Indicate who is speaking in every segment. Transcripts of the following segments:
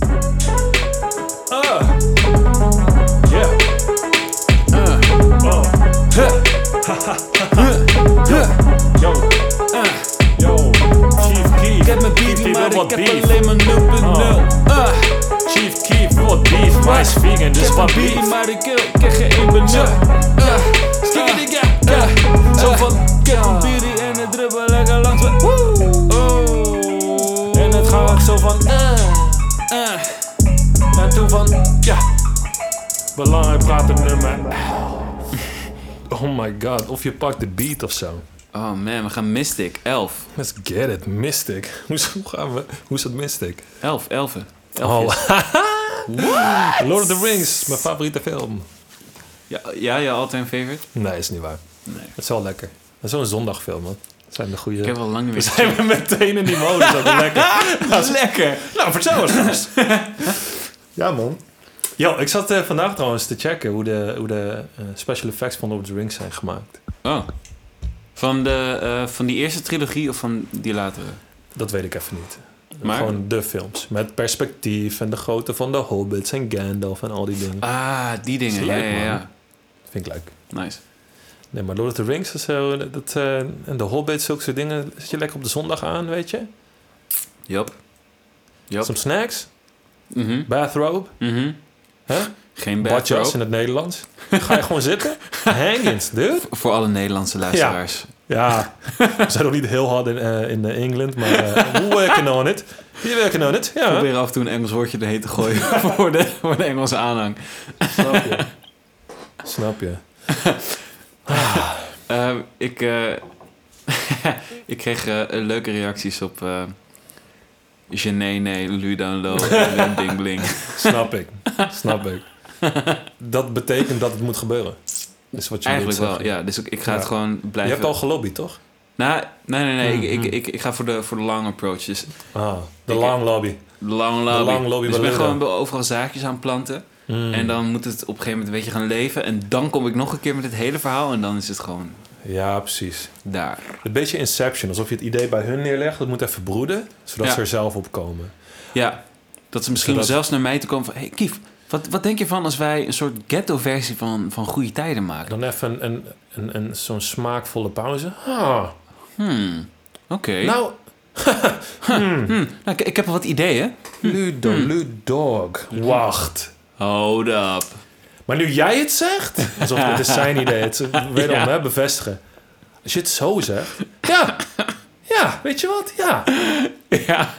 Speaker 1: Uh. Oh. Yo, Uh. yo, Chief Keef.
Speaker 2: Ik heb mijn
Speaker 1: Keef,
Speaker 2: beat,
Speaker 1: die
Speaker 2: maar
Speaker 1: wil
Speaker 2: ik
Speaker 1: wat
Speaker 2: heb
Speaker 1: beef.
Speaker 2: alleen maar 0.0.
Speaker 3: Oh.
Speaker 2: Ah,
Speaker 1: Chief Keef wil wat beef, maar hij is vegan,
Speaker 2: Ik
Speaker 1: dus
Speaker 2: heb
Speaker 1: wat
Speaker 2: een
Speaker 1: beef.
Speaker 2: beat, maar ik heb ik heb geen benul. Ah, Skikkerdikka, ah, Zo van, ik heb een beat en het dribbel lekker langs me. Woe, oh. En het gaat zo van, eh, eh. En toen van, ja.
Speaker 1: Belangrijk praat een nummer. Oh my god, of je pakt de beat of zo.
Speaker 3: Oh man, we gaan Mystic. Elf.
Speaker 1: Let's get it, Mystic. Hoezo gaan we? Hoe is dat Mystic?
Speaker 3: Elf, elfen.
Speaker 1: Oh,
Speaker 3: Elfjes.
Speaker 1: Lord of the Rings, mijn favoriete film.
Speaker 3: Ja, ja, je all-time favorite?
Speaker 1: Nee, is niet waar.
Speaker 3: Nee.
Speaker 1: Het is wel lekker. Dat is wel een zondagfilm, man. Dat zijn de goede.
Speaker 3: Ik heb al lang
Speaker 1: We
Speaker 3: weer...
Speaker 1: zijn we meteen in die modus. Dat is lekker.
Speaker 3: Lekker!
Speaker 1: Nou, vertel eens gast. ja, man. Yo, ik zat eh, vandaag trouwens te checken hoe de, hoe de eh, special effects van Lord of the Rings zijn gemaakt.
Speaker 3: Oh. Van, de, eh, van die eerste trilogie of van die latere?
Speaker 1: Dat weet ik even niet.
Speaker 3: Maar-
Speaker 1: Gewoon de films. Met perspectief en de grootte van de hobbits en Gandalf en al die dingen.
Speaker 3: Ah, die dingen.
Speaker 1: Is
Speaker 3: ja,
Speaker 1: leuk,
Speaker 3: ja,
Speaker 1: man.
Speaker 3: ja.
Speaker 1: Vind ik leuk.
Speaker 3: Nice.
Speaker 1: Nee, maar Lord of the Rings en zo, dat, eh, en de Hobbit, zulke soort dingen, zit je lekker op de zondag aan, weet je?
Speaker 3: Jop. Jop.
Speaker 1: Some snacks,
Speaker 3: Mhm.
Speaker 1: bathrobe,
Speaker 3: Mhm.
Speaker 1: hè?
Speaker 3: Geen
Speaker 1: badjas in
Speaker 3: bathrobe.
Speaker 1: het Nederlands. Ga je gewoon zitten? Hangings, dude.
Speaker 3: Voor alle Nederlandse luisteraars.
Speaker 1: Ja, we zijn nog niet heel hard in, eh, in eh, Engeland, maar eh, we're working on it. We're working on it, ja.
Speaker 3: Probeer af en toe een Engels woordje erheen te gooien voor, de, voor de Engelse aanhang.
Speaker 1: Snap je. Snap je.
Speaker 3: Eh, ik, eh, ik kreeg eh, leuke reacties op... eh Gené, nee, Ludan, Lo, en Ding Bling.
Speaker 1: Snap ik. Snap ik. Dat betekent dat het moet gebeuren. Is wat je
Speaker 3: Eigenlijk
Speaker 1: wilt
Speaker 3: wel,
Speaker 1: zeggen.
Speaker 3: ja. Dus ik, ik ga het
Speaker 1: Ja.
Speaker 3: gewoon
Speaker 1: Je
Speaker 3: blijven...
Speaker 1: hebt al gelobbyd, toch?
Speaker 3: Nou, nee, nee, nee. Ik,
Speaker 1: Mhm.
Speaker 3: ik, ik, ik ga voor de, voor de long approach. Dus
Speaker 1: Ah, de
Speaker 3: Ik-
Speaker 1: lang lobby.
Speaker 3: de long lobby.
Speaker 1: long lobby
Speaker 3: dus ik ben
Speaker 1: balloon.
Speaker 3: gewoon overal zaakjes aan het planten.
Speaker 1: Mm.
Speaker 3: En dan moet het op een gegeven moment een beetje gaan leven. En dan kom ik nog een keer met het hele verhaal. En dan is het gewoon
Speaker 1: Mm. Ja, precies.
Speaker 3: daar.
Speaker 1: Een beetje Inception, alsof je het idee bij hun neerlegt. Dat moet even broeden, zodat
Speaker 3: Ja.
Speaker 1: ze er zelf op komen.
Speaker 3: Ja, dat ze misschien
Speaker 1: Zodat-
Speaker 3: zelfs naar mij toe komen van... Hey, Kief, wat, wat denk je van als wij een soort ghetto-versie van, van Goede Tijden maken?
Speaker 1: Dan even een, een, een, een- zo'n smaakvolle pauze. Ah,
Speaker 3: Hmm, oké. Nou,
Speaker 1: nou,
Speaker 3: ik, ik heb wel wat ideeën.
Speaker 1: Ludo,
Speaker 3: Hmm.
Speaker 1: Ludog. Wacht.
Speaker 3: Hold up.
Speaker 1: Maar nu jij het zegt, alsof dit is zijn idee het is, wederom
Speaker 3: Ja.
Speaker 1: hè, bevestigen. Als je het zo zegt, ja, ja, weet je wat, ja.
Speaker 3: Ja,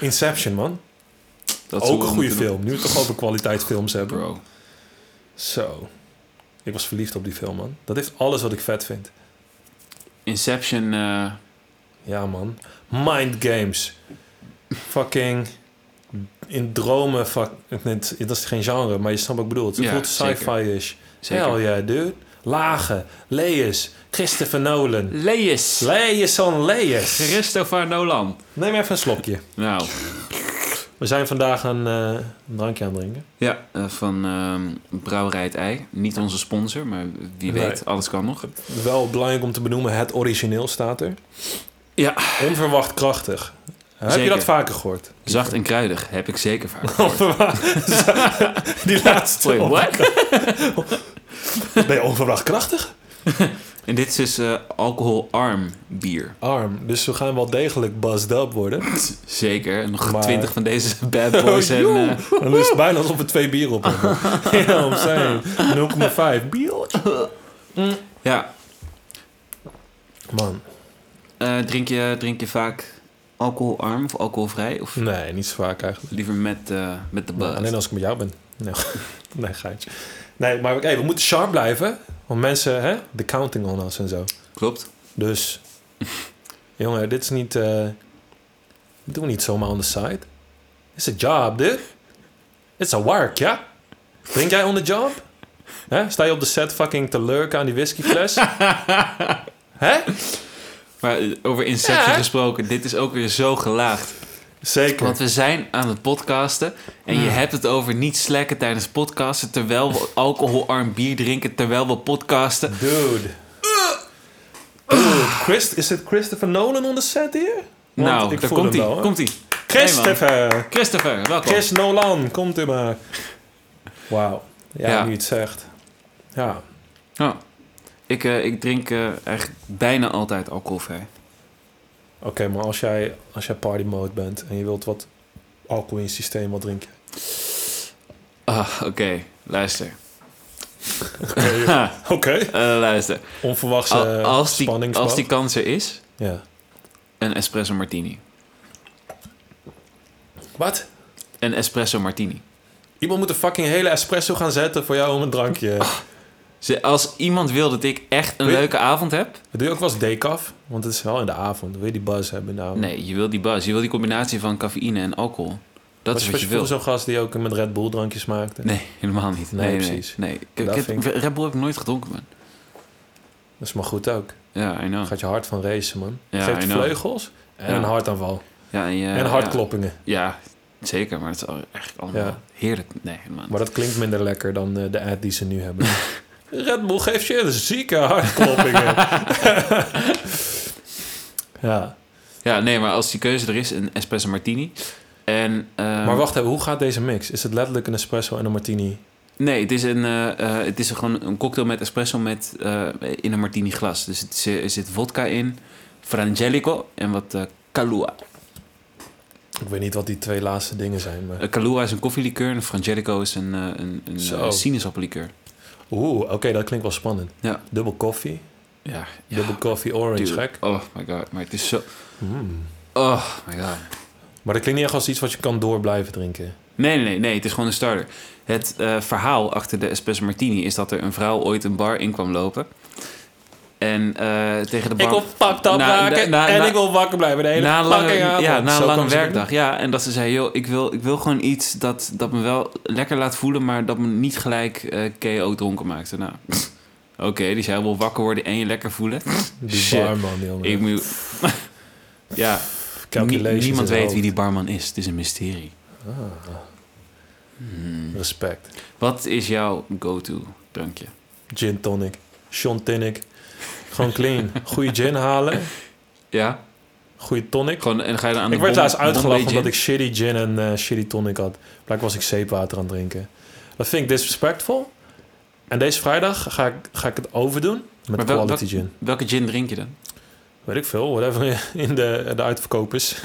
Speaker 1: Inception, man.
Speaker 3: dat is hoe
Speaker 1: Ook
Speaker 3: we
Speaker 1: een goede
Speaker 3: moeten doen.
Speaker 1: film. Nu we het toch over kwaliteitsfilms hebben.
Speaker 3: Bro,
Speaker 1: Zo. Ik was verliefd op die film, man. Dat heeft alles wat ik vet vind.
Speaker 3: Inception... eh,
Speaker 1: Ja, man. Mind games. Fucking. In dromen, fuck. nee, het- dat is geen genre, maar je snapt wat ik bedoel. Het
Speaker 3: Ja,
Speaker 1: voelt
Speaker 3: zeker.
Speaker 1: sci-fi-ish.
Speaker 3: Zeker.
Speaker 1: Hell yeah, dude. Lagen, Lees, Christopher Nolan.
Speaker 3: Lees.
Speaker 1: Lees on Lees.
Speaker 3: Christopher Nolan.
Speaker 1: Neem even een slokje.
Speaker 3: Nou,
Speaker 1: We zijn vandaag een, eh, een drankje aan het drinken.
Speaker 3: ja, eh, van ehm Brouwerij het Ei. Niet onze sponsor, maar wie
Speaker 1: Nee.
Speaker 3: weet, alles kan nog.
Speaker 1: Wel belangrijk om te benoemen, het origineel staat er.
Speaker 3: Ja,
Speaker 1: Onverwacht krachtig. Heb je
Speaker 3: Zeker.
Speaker 1: dat vaker gehoord?
Speaker 3: zacht en kruidig heb ik zeker
Speaker 1: Oh,
Speaker 3: vaak gehoord.
Speaker 1: Die laatste.
Speaker 3: Wait, what?
Speaker 1: Ben je onverwacht krachtig?
Speaker 3: En dit is dus eh, alcoholarm bier.
Speaker 1: Arm. Dus we gaan wel degelijk buzzed up worden.
Speaker 3: Zeker. En nog
Speaker 1: Maar-
Speaker 3: twintig van deze bad boys en...
Speaker 1: joe.
Speaker 3: eh,
Speaker 1: Dan is het bijna alsof we twee bier op hebben. ja, om zijn. 0,5. Bier.
Speaker 3: ja,
Speaker 1: Man,
Speaker 3: eh, drink, je, drink je vaak alcoholarm of alcoholvrij? Of
Speaker 1: nee, niet zo vaak eigenlijk.
Speaker 3: liever met, eh, met de buzz?
Speaker 1: Alleen als ik met jou ben. Nee, nee geitje. Nee, maar hey, we moeten sharp blijven. Want mensen, hè, de counting on us en zo.
Speaker 3: Klopt.
Speaker 1: Dus, jongen, dit is niet... eh dit doen we niet zomaar on the side. It's a job, dude. It's a work, ja? Drink jij on the job? Hè? Sta je op de set fucking te lurken aan die whiskyfles? Hè?
Speaker 3: Maar eh, over Inception
Speaker 1: Ja.
Speaker 3: gesproken, dit is ook weer zo gelaagd.
Speaker 1: Zeker.
Speaker 3: Want we zijn aan het podcasten. En je hebt het over niet slacken tijdens podcasten. Terwijl we alcoholarm bier drinken. Terwijl we podcasten.
Speaker 1: Dude. Dude, Christ, is het Christopher Nolan on the set hier? Want
Speaker 3: nou,
Speaker 1: ik
Speaker 3: daar
Speaker 1: voel
Speaker 3: komt
Speaker 1: hem
Speaker 3: hij.
Speaker 1: wel, hè?
Speaker 3: Komt hij.
Speaker 1: Christopher!
Speaker 3: Christopher, welkom.
Speaker 1: Chris Nolan, komt u maar. Wauw. Ja,
Speaker 3: Ja.
Speaker 1: nu je het zegt. Ja.
Speaker 3: Oh. Ik, eh, ik drink eh, eigenlijk bijna altijd alcoholvrij.
Speaker 1: Oké, maar als jij, als jij party mode bent en je wilt wat alcohol in je systeem, wat drink je?
Speaker 3: Ah, oké. Luister.
Speaker 1: Oké,
Speaker 3: Ha, eh, luister.
Speaker 1: onverwachte
Speaker 3: Al- als, die,
Speaker 1: spanningsboog.
Speaker 3: als die kans er is,
Speaker 1: eh, Ja.
Speaker 3: een espresso martini.
Speaker 1: Wat?
Speaker 3: Een espresso martini.
Speaker 1: Iemand moet een fucking hele espresso gaan zetten voor jou om een drankje.
Speaker 3: Ah. Ze- Als iemand wil dat ik echt een
Speaker 1: Wil je-
Speaker 3: leuke avond heb...
Speaker 1: Doe je ook wel eens decaf? Want het is wel in de avond. Wil je die buzz hebben in de avond?
Speaker 3: Nee, je wil die buzz. Je wil die combinatie van cafeïne en alcohol. Dat
Speaker 1: Was
Speaker 3: is wat je
Speaker 1: vroeger
Speaker 3: wil.
Speaker 1: zo'n gast die ook met Red Bull drankjes maakte?
Speaker 3: Nee, helemaal niet.
Speaker 1: Nee,
Speaker 3: Nee, nee,
Speaker 1: precies.
Speaker 3: Nee. Ik, ik
Speaker 1: Dat
Speaker 3: heb,
Speaker 1: vind ik-
Speaker 3: Red Bull heb ik nooit gedronken, man.
Speaker 1: Dat is maar goed ook.
Speaker 3: Ja, I know.
Speaker 1: Gaat je hart van racen, man.
Speaker 3: Ah. Ja, I
Speaker 1: Geeft
Speaker 3: know.
Speaker 1: vleugels en
Speaker 3: Ja.
Speaker 1: een hartaanval.
Speaker 3: Ja, en, eh,
Speaker 1: en
Speaker 3: ja.
Speaker 1: hartkloppingen.
Speaker 3: Ja, zeker. Maar het is al- echt allemaal
Speaker 1: Ja.
Speaker 3: heerlijk. Nee, helemaal niet.
Speaker 1: Maar dat klinkt minder lekker dan eh, de ad die ze nu hebben. Red Bull geeft je zieke hartkloppingen. ja.
Speaker 3: Ja, nee, maar als die keuze er is, een espresso martini. En, ehm,
Speaker 1: Maar wacht even, hoe gaat deze mix? Is het letterlijk een espresso en een martini?
Speaker 3: Nee, het is, een, eh, eh, het is gewoon een cocktail met espresso met, eh, in een martini glas. Dus het, zi- er zit vodka in, frangelico en wat eh Kahlua.
Speaker 1: Ik weet niet wat die twee laatste dingen zijn. Maar...
Speaker 3: Eh, Kahlua is een koffielikeur en frangelico is een, eh, een, een
Speaker 1: Zo.
Speaker 3: eh, sinaasappellikeur.
Speaker 1: Oeh, oké, dat klinkt wel spannend.
Speaker 3: Ja.
Speaker 1: Dubbel koffie.
Speaker 3: Ja,
Speaker 1: Dubbel koffie orange,
Speaker 3: dude.
Speaker 1: gek.
Speaker 3: Oh my god, maar het is zo...
Speaker 1: Mm.
Speaker 3: Oh my god.
Speaker 1: Maar dat klinkt niet echt als iets wat je kan door blijven drinken.
Speaker 3: Nee, nee, nee, nee, het is gewoon een starter. Het eh, verhaal achter de espresso martini is dat er een vrouw ooit een bar in kwam lopen. En eh, tegen de bar...
Speaker 1: pakt
Speaker 3: Na- na- na- na-
Speaker 1: wil wakker blijven de
Speaker 3: na een
Speaker 1: fucking
Speaker 3: lange,
Speaker 1: avond.
Speaker 3: ja, na
Speaker 1: Zo
Speaker 3: een lange
Speaker 1: kwam ze binnen.
Speaker 3: werkdag. Ja, en dat ze zei, joh, ik wil, ik wil gewoon iets dat, dat me wel lekker laat voelen... maar dat me niet gelijk eh KO dronken maakte. Nou, oké, die zei, wil wakker worden en je lekker voelen.
Speaker 1: Die
Speaker 3: Shit.
Speaker 1: barman, jongen.
Speaker 3: Ik moet... ja, nie-
Speaker 1: Calculations in zijn
Speaker 3: niemand weet wie
Speaker 1: hoofd. Ah,
Speaker 3: die barman is. Het is een mysterie. Hmm.
Speaker 1: Respect.
Speaker 3: Wat is jouw go-to drankje?
Speaker 1: Gin tonic. Sean tonic. Gewoon clean. Goeie gin halen.
Speaker 3: Ja,
Speaker 1: Goeie tonic.
Speaker 3: gewoon en dan ga je dan aan
Speaker 1: Ik
Speaker 3: de
Speaker 1: werd
Speaker 3: bom-
Speaker 1: laatst uitgelachen
Speaker 3: Bombay
Speaker 1: omdat ik
Speaker 3: gin?
Speaker 1: shitty gin en eh, shitty tonic had. Blijkbaar was ik zeepwater aan het drinken. Dat vind ik disrespectful. En deze vrijdag ga ik, ga ik het overdoen met
Speaker 3: Maar wel-
Speaker 1: quality
Speaker 3: wel-
Speaker 1: gin.
Speaker 3: Welke gin drink je dan?
Speaker 1: Weet ik veel, whatever in de, de uitverkoop is.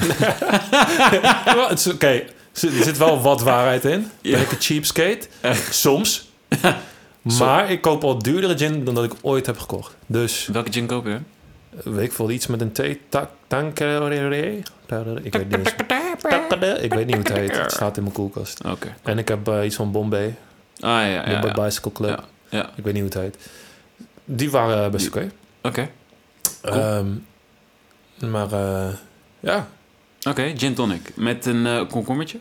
Speaker 1: Wel, het is Oké, er zit- er zit wel wat waarheid in.
Speaker 3: Ja.
Speaker 1: Ben ik een cheapskate? Soms. Maar ik koop al duurdere gin dan dat ik ooit heb gekocht. Dus...
Speaker 3: Welke gin koop je dan?
Speaker 1: Eh, Weet ik veel, iets met een T. Tak- Tankerere? Tankerere? Ik weet niet. eens- Tankerere? Ik weet niet hoe het heet. Het staat in mijn koelkast.
Speaker 3: Oké.
Speaker 1: En ik heb eh, iets van Bombay.
Speaker 3: Ah ja, ja,
Speaker 1: De
Speaker 3: ja. Oké.
Speaker 1: Bicycle Club.
Speaker 3: Ja, ja.
Speaker 1: Ik weet niet hoe het heet. Die waren eh, best
Speaker 3: Die-
Speaker 1: oké.
Speaker 3: cool.
Speaker 1: Ehm, maar eh, ja.
Speaker 3: Oké, gin tonic. Met een eh, komkommertje?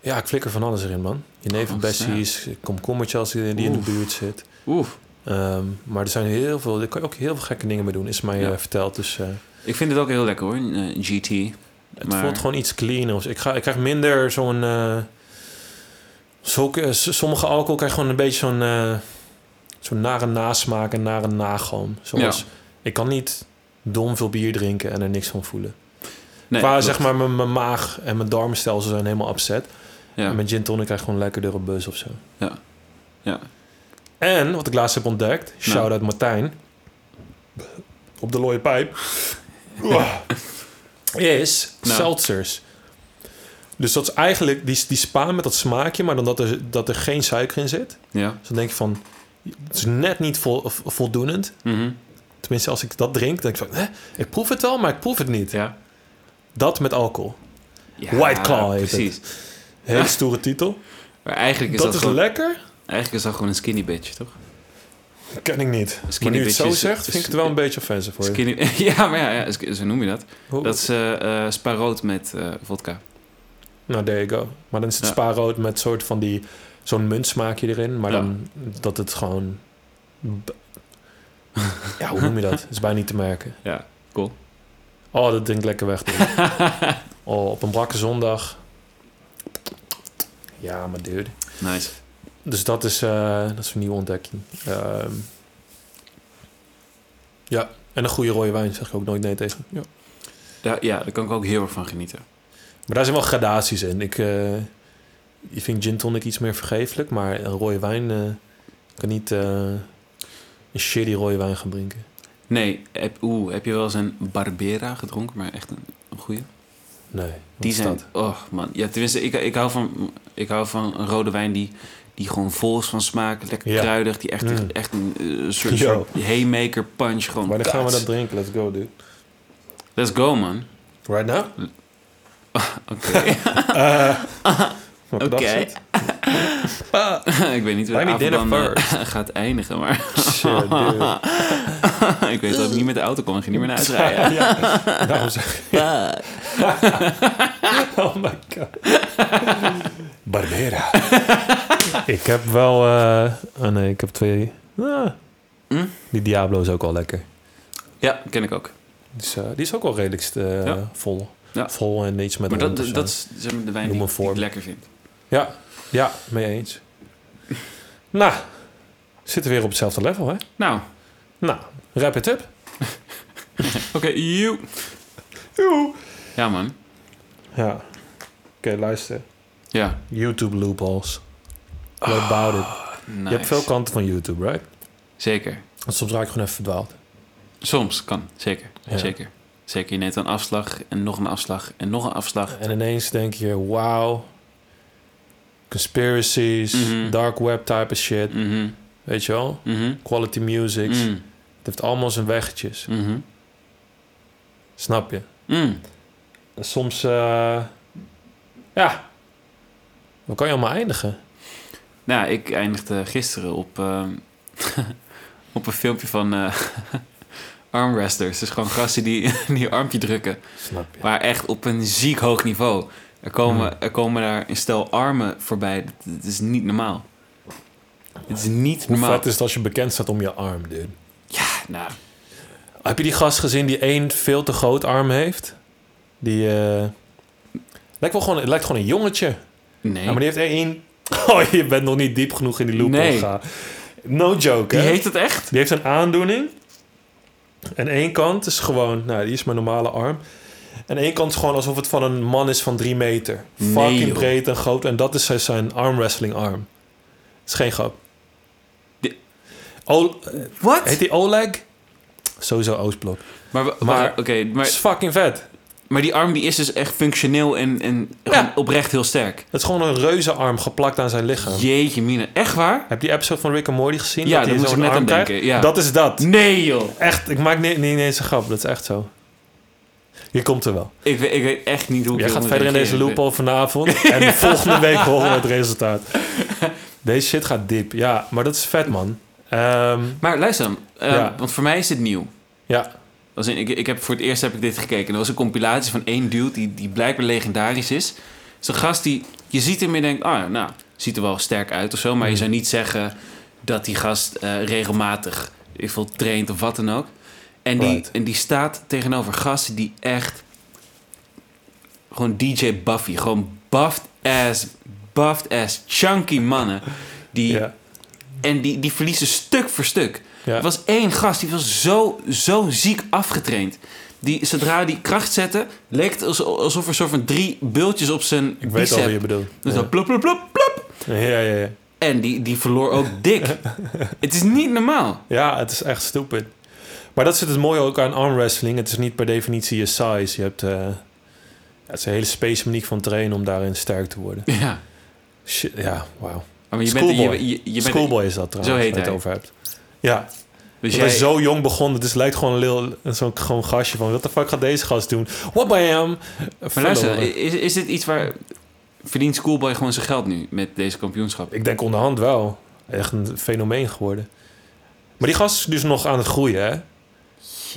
Speaker 1: ja, ik flikker van alles erin, man. Je nevenbessies, komkommertje als die die in de
Speaker 3: Oh, Oeh.
Speaker 1: buurt zit.
Speaker 3: Oeh.
Speaker 1: Ehm, maar er zijn heel veel, daar kan je ook heel veel gekke dingen mee doen, is mij
Speaker 3: Ja.
Speaker 1: eh, verteld. Dus eh,
Speaker 3: Ik vind het ook heel lekker hoor, een, eh, GT.
Speaker 1: Het
Speaker 3: Maar-
Speaker 1: voelt gewoon iets cleaners. Ik, ga, ik krijg minder zo'n... eh, zulke, s- sommige alcohol krijg gewoon een beetje zo'n... eh, zo'n nare nasmaak en nare nagalm. Zoals,
Speaker 3: Ja.
Speaker 1: ik kan niet dom veel bier drinken en er niks van voelen.
Speaker 3: Nee,
Speaker 1: Waar
Speaker 3: dat-
Speaker 1: zeg maar mijn, mijn maag en mijn darmstelsel zijn helemaal upset.
Speaker 3: Ja.
Speaker 1: En met gin tonic krijg ik gewoon lekker door bus of zo.
Speaker 3: Ja. Ja.
Speaker 1: En wat ik laatst heb ontdekt, shout-out Martijn. Op de looie pijp. is
Speaker 3: Nou.
Speaker 1: seltzers. Dus dat is eigenlijk die, die spa met dat smaakje, maar dan dat er, dat er geen suiker in zit.
Speaker 3: Ja.
Speaker 1: Dus dan denk je van, het is net niet vol, vo- voldoenend.
Speaker 3: Mhm.
Speaker 1: Tenminste, als ik dat drink, dan denk ik van, hè, ik proef het wel, maar ik proef het niet.
Speaker 3: ja.
Speaker 1: Dat met alcohol.
Speaker 3: Ja,
Speaker 1: White Claw heet
Speaker 3: Precies.
Speaker 1: Hele stoere titel.
Speaker 3: Maar eigenlijk is
Speaker 1: Dat
Speaker 3: dat,
Speaker 1: is
Speaker 3: gewoon,
Speaker 1: lekker?
Speaker 3: eigenlijk is dat gewoon een skinny bitch, toch?
Speaker 1: Ken ik niet. Maar
Speaker 3: Skinny
Speaker 1: nu je het
Speaker 3: bitch
Speaker 1: zo
Speaker 3: is-
Speaker 1: zegt,
Speaker 3: is-
Speaker 1: vind ik het wel een beetje offensive voor je.
Speaker 3: Skinny, ja, maar ja, ja, zo noem je dat.
Speaker 1: Hoe-
Speaker 3: Dat is eh, eh, sparoot met eh, vodka.
Speaker 1: Nou, there you go. Maar dan is het
Speaker 3: Ja.
Speaker 1: spaarrood met soort van die... Zo'n muntsmaakje erin. Maar
Speaker 3: Ja.
Speaker 1: dan dat het gewoon... b- Ja, hoe noem je dat? Is bijna niet te merken.
Speaker 3: Ja, cool.
Speaker 1: Oh, dat drinkt lekker weg. dude. oh, op een brakke zondag. Ja, maar dude.
Speaker 3: Nice.
Speaker 1: Dus dat is, eh, dat is een nieuwe ontdekking. Ehm, ja, en een goede rode wijn zeg ik ook nooit nee tegen. Ja.
Speaker 3: Ja, ja, daar kan ik ook heel erg van genieten.
Speaker 1: Maar daar zijn wel gradaties in. Ik, eh ik vind gin tonic iets meer vergeeflijk, maar een rode wijn eh, kan niet eh, een shitty rode wijn gaan drinken.
Speaker 3: Nee, heb, oeh, heb je wel eens een Barbera gedronken? Maar echt een, een goeie?
Speaker 1: Nee.
Speaker 3: Die zijn... Oh man, ja, tenminste, ik, ik, hou van, ik hou van een rode wijn die, die gewoon vol is van smaak. Lekker
Speaker 1: Ja.
Speaker 3: kruidig, die echt,
Speaker 1: Mm.
Speaker 3: echt een eh, soort,
Speaker 1: Yo.
Speaker 3: soort haymaker punch. Gewoon
Speaker 1: Maar dan gaan we
Speaker 3: kaats.
Speaker 1: dat drinken. Let's go, dude.
Speaker 3: Let's go man.
Speaker 1: Right now?
Speaker 3: Oké.
Speaker 1: Wat
Speaker 3: Oké.
Speaker 1: bedacht je Eh, het?
Speaker 3: ik weet niet waar
Speaker 1: Buy
Speaker 3: de
Speaker 1: me
Speaker 3: avond dan
Speaker 1: dinner
Speaker 3: eh, gaat eindigen, maar
Speaker 1: Shit, dude.
Speaker 3: ik weet dat ik niet met de auto kom. Ik ga niet meer naar huis rijden.
Speaker 1: ja. Daarom zeg ik- Oh my god. Barbera. ik heb wel... eh oh nee, ik heb twee... Ah,
Speaker 3: Mm?
Speaker 1: Die Diablo is ook wel lekker.
Speaker 3: Ja, ken ik ook.
Speaker 1: Dus, eh, die is ook wel redelijk eh,
Speaker 3: Ja.
Speaker 1: vol.
Speaker 3: Ja.
Speaker 1: Vol en iets met
Speaker 3: Maar dat,
Speaker 1: rond of zo.
Speaker 3: dat is zeg maar, de wijn
Speaker 1: Noem
Speaker 3: die,
Speaker 1: een
Speaker 3: die ik
Speaker 1: vorm.
Speaker 3: lekker vind.
Speaker 1: Ja, ja, mee eens. Nou, zitten we weer op hetzelfde level, hè?
Speaker 3: Nou,
Speaker 1: Nou, wrap it up.
Speaker 3: oké, joe. Ja man,
Speaker 1: Ja. Oké, luister.
Speaker 3: ja.
Speaker 1: YouTube loopholes. What about it?
Speaker 3: Nice.
Speaker 1: Je hebt veel kanten van YouTube, right?
Speaker 3: Zeker.
Speaker 1: Want soms raak ik gewoon even verdwaald.
Speaker 3: Soms kan, zeker.
Speaker 1: Ja.
Speaker 3: Zeker. Zeker, je neemt een afslag en nog een afslag en nog een afslag.
Speaker 1: En ineens denk je, wauw. Conspiracies,
Speaker 3: Mhm.
Speaker 1: dark web type of shit.
Speaker 3: Mhm,
Speaker 1: Weet je wel?
Speaker 3: mhm,
Speaker 1: Quality music.
Speaker 3: mm,
Speaker 1: Het heeft allemaal zijn weggetjes.
Speaker 3: mhm,
Speaker 1: Snap je?
Speaker 3: mm.
Speaker 1: En soms, eh, ja. Waar kan je allemaal eindigen?
Speaker 3: Nou, ik eindigde gisteren op, eh, op een filmpje van eh armresters. Dus gewoon gasten die, die je armpje drukken.
Speaker 1: Snap je?
Speaker 3: Maar echt op een ziek hoog niveau. Er komen, er komen daar een stel armen voorbij. Dat, dat is niet normaal. Het is niet
Speaker 1: Hoe
Speaker 3: normaal.
Speaker 1: vet is het als je bekend staat om je arm, dude?
Speaker 3: Ja, nou,
Speaker 1: Heb je die gast gezien die één veel te groot arm heeft? Die, eh, lijkt wel gewoon, het lijkt gewoon een jongetje.
Speaker 3: nee.
Speaker 1: Ja, maar die heeft één... Oh, je bent nog niet diep genoeg in die loop
Speaker 3: Nee.
Speaker 1: gegaan. No joke,
Speaker 3: die
Speaker 1: hè?
Speaker 3: heet het echt?
Speaker 1: Die heeft een aandoening. En één kant is gewoon... Nou, die is mijn normale arm. En één kant is gewoon alsof het van een man is van drie meter.
Speaker 3: Nee,
Speaker 1: Fucking
Speaker 3: joh.
Speaker 1: breed en groot. En dat is zijn- zijn armwrestling arm. Het is geen grap.
Speaker 3: Die-
Speaker 1: O- heet
Speaker 3: Wat?
Speaker 1: die Oleg? Sowieso Oostblok.
Speaker 3: Maar, wa-
Speaker 1: Maar-
Speaker 3: oké, maar
Speaker 1: Het is fucking vet.
Speaker 3: Maar die arm die is dus echt functioneel en, en gewoon
Speaker 1: Ja.
Speaker 3: oprecht heel sterk.
Speaker 1: Het is gewoon een reuzenarm geplakt aan zijn lichaam.
Speaker 3: Jeetje mine, echt waar?
Speaker 1: Heb je die episode van Rick en Morty gezien?
Speaker 3: Ja,
Speaker 1: Dat hij
Speaker 3: daar moest ik
Speaker 1: zo'n
Speaker 3: net
Speaker 1: arm
Speaker 3: aan
Speaker 1: krijgt?
Speaker 3: denken. Ja.
Speaker 1: Dat is dat.
Speaker 3: Nee joh!
Speaker 1: Echt, ik maak ni- niet, ineens een grap. Dat is echt zo. Je komt er wel.
Speaker 3: Ik weet, ik weet echt niet hoe ik
Speaker 1: Jij
Speaker 3: hierop
Speaker 1: gaat
Speaker 3: moet
Speaker 1: verder in deze
Speaker 3: reageren.
Speaker 1: loophole vanavond. En volgende week horen we het resultaat. Deze shit gaat diep. Ja, maar dat is vet, man. Ehm,
Speaker 3: Maar luister, dan, eh,
Speaker 1: Ja.
Speaker 3: want voor mij is dit nieuw.
Speaker 1: ja,
Speaker 3: Als in, ik, ik heb, voor het eerst heb ik dit gekeken. En Er was een compilatie van één dude die, die blijkbaar legendarisch is. Het is een gast die, je ziet hem en je denkt, ah ja, nou, ziet er wel sterk uit of zo. Maar je
Speaker 1: Hmm.
Speaker 3: zou niet zeggen dat die gast eh, regelmatig, ik veel, traint of wat dan ook. En die,
Speaker 1: Right.
Speaker 3: en die staat tegenover gasten die echt, gewoon DJ Buffy, gewoon buffed ass, buffed ass, chunky mannen. Die,
Speaker 1: ja,
Speaker 3: En die, die verliezen stuk voor stuk.
Speaker 1: ja.
Speaker 3: Er was één gast die was zo, zo ziek afgetraind. Die, zodra die kracht zette, leek het alsof, alsof er soort van drie bultjes op zijn
Speaker 1: ik weet al
Speaker 3: bicep.
Speaker 1: wie je bedoelt.
Speaker 3: Dus
Speaker 1: Ja.
Speaker 3: dan plop, plop, plop, plop.
Speaker 1: Ja, ja, ja.
Speaker 3: En die, die verloor ook dik. het is niet normaal.
Speaker 1: Ja, het is echt stupid. Maar dat zit het mooie ook aan armwrestling. Het is niet per definitie je size. Je hebt, eh, ja, het is een hele specifiek van trainen om daarin sterk te worden.
Speaker 3: Ja.
Speaker 1: Shit, ja, wauw.
Speaker 3: Maar je bent...
Speaker 1: Schoolboy.
Speaker 3: Je, je, je bent
Speaker 1: Schoolboy is dat trouwens,
Speaker 3: Zo heet
Speaker 1: waar je
Speaker 3: hij.
Speaker 1: het over hebt. Ja,
Speaker 3: Dus
Speaker 1: ik ben
Speaker 3: jij,
Speaker 1: zo jong begonnen. Dus het lijkt gewoon een lil- zo'n gewoon gastje van... wat de fuck gaat deze gast doen? What bam!
Speaker 3: maar luister, eh, is, is dit iets waar... Verdient Schoolboy gewoon zijn geld nu met deze kampioenschap?
Speaker 1: Ik denk onderhand wel. Echt een fenomeen geworden. Maar die gast is dus nog aan het groeien, hè?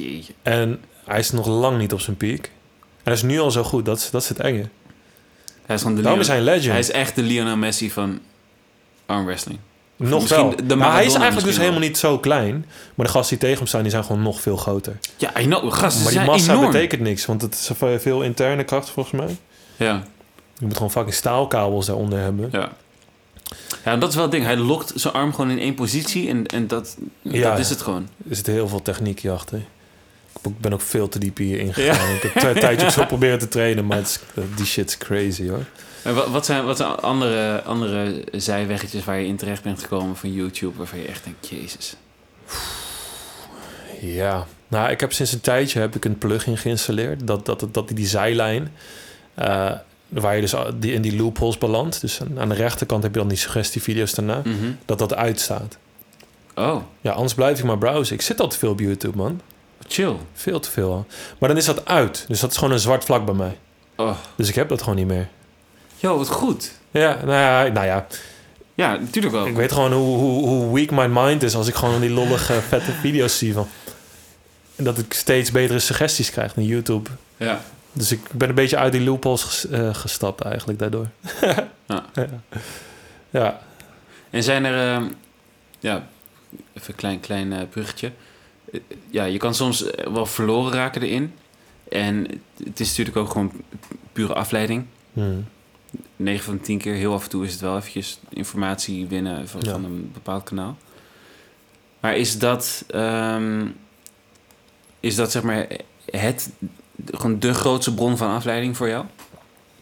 Speaker 3: Jeetje.
Speaker 1: En hij is nog lang niet op zijn piek. En hij is nu al zo goed. Dat is, dat is het enge.
Speaker 3: Hij is gewoon de
Speaker 1: Daarom
Speaker 3: Lionel,
Speaker 1: is hij een legend.
Speaker 3: hij is echt de Lionel Messi van armwrestling.
Speaker 1: nog
Speaker 3: misschien
Speaker 1: wel.
Speaker 3: de- de
Speaker 1: maar hij is
Speaker 3: Maradona
Speaker 1: eigenlijk dus
Speaker 3: misschien wel.
Speaker 1: helemaal niet zo klein. Maar de gasten die tegen hem staan, die zijn gewoon nog veel groter.
Speaker 3: Ja, I know. Gast, ze
Speaker 1: maar die
Speaker 3: zijn
Speaker 1: massa
Speaker 3: enorm.
Speaker 1: betekent niks. Want het is veel interne kracht, volgens mij.
Speaker 3: Ja.
Speaker 1: Je moet gewoon fucking staalkabels daaronder hebben.
Speaker 3: Ja. Ja, en dat is wel het ding. Hij lokt zijn arm gewoon in één positie en, en dat,
Speaker 1: Ja.
Speaker 3: dat is het gewoon.
Speaker 1: Er zit heel veel techniek hierachter. Ik heb- Ik ben ook veel te diep hier ingegaan. Ik heb een tijdje op zo proberen te trainen, maar het is, die shit is crazy hoor.
Speaker 3: En wat, wat zijn, wat zijn andere, andere zijweggetjes waar je in terecht bent gekomen van YouTube waarvan je echt denkt, jezus.
Speaker 1: Ja, nou, ik heb sinds een tijdje heb ik een plugin geïnstalleerd. Dat, dat, dat, dat die, die zijlijn, eh, waar je dus al- die, in die loopholes belandt. Dus aan, aan de rechterkant heb je dan die suggestievideo's daarna.
Speaker 3: Mhm.
Speaker 1: Dat dat uitstaat.
Speaker 3: Oh,
Speaker 1: Ja, anders blijf ik maar browsen. Ik zit al te veel op YouTube, man.
Speaker 3: chill.
Speaker 1: Veel te veel al. Maar dan is dat uit. Dus dat is gewoon een zwart vlak bij mij.
Speaker 3: Oh.
Speaker 1: Dus ik heb dat gewoon niet meer.
Speaker 3: Yo, wat goed.
Speaker 1: Ja, nou ja, nou ja.
Speaker 3: Ja, natuurlijk wel.
Speaker 1: Ik weet gewoon hoe, hoe, hoe weak my mind is als ik gewoon die lollige, vette video's zie van... En dat ik steeds betere suggesties krijg naar YouTube.
Speaker 3: Ja.
Speaker 1: Dus ik ben een beetje uit die loopholes ges- eh, gestapt eigenlijk daardoor.
Speaker 3: Ja.
Speaker 1: ja. Ja.
Speaker 3: En zijn er, ehm, ja, even een klein, klein eh, bruggetje. Eh, ja, je kan soms eh, wel verloren raken erin. En het is natuurlijk ook gewoon pu- pure afleiding.
Speaker 1: Hmm.
Speaker 3: 9 van 10 keer, heel af en toe is het wel eventjes informatie winnen van,
Speaker 1: Ja.
Speaker 3: van een bepaald kanaal. Maar is dat, ehm, is dat zeg maar het, gewoon de grootste bron van afleiding voor jou?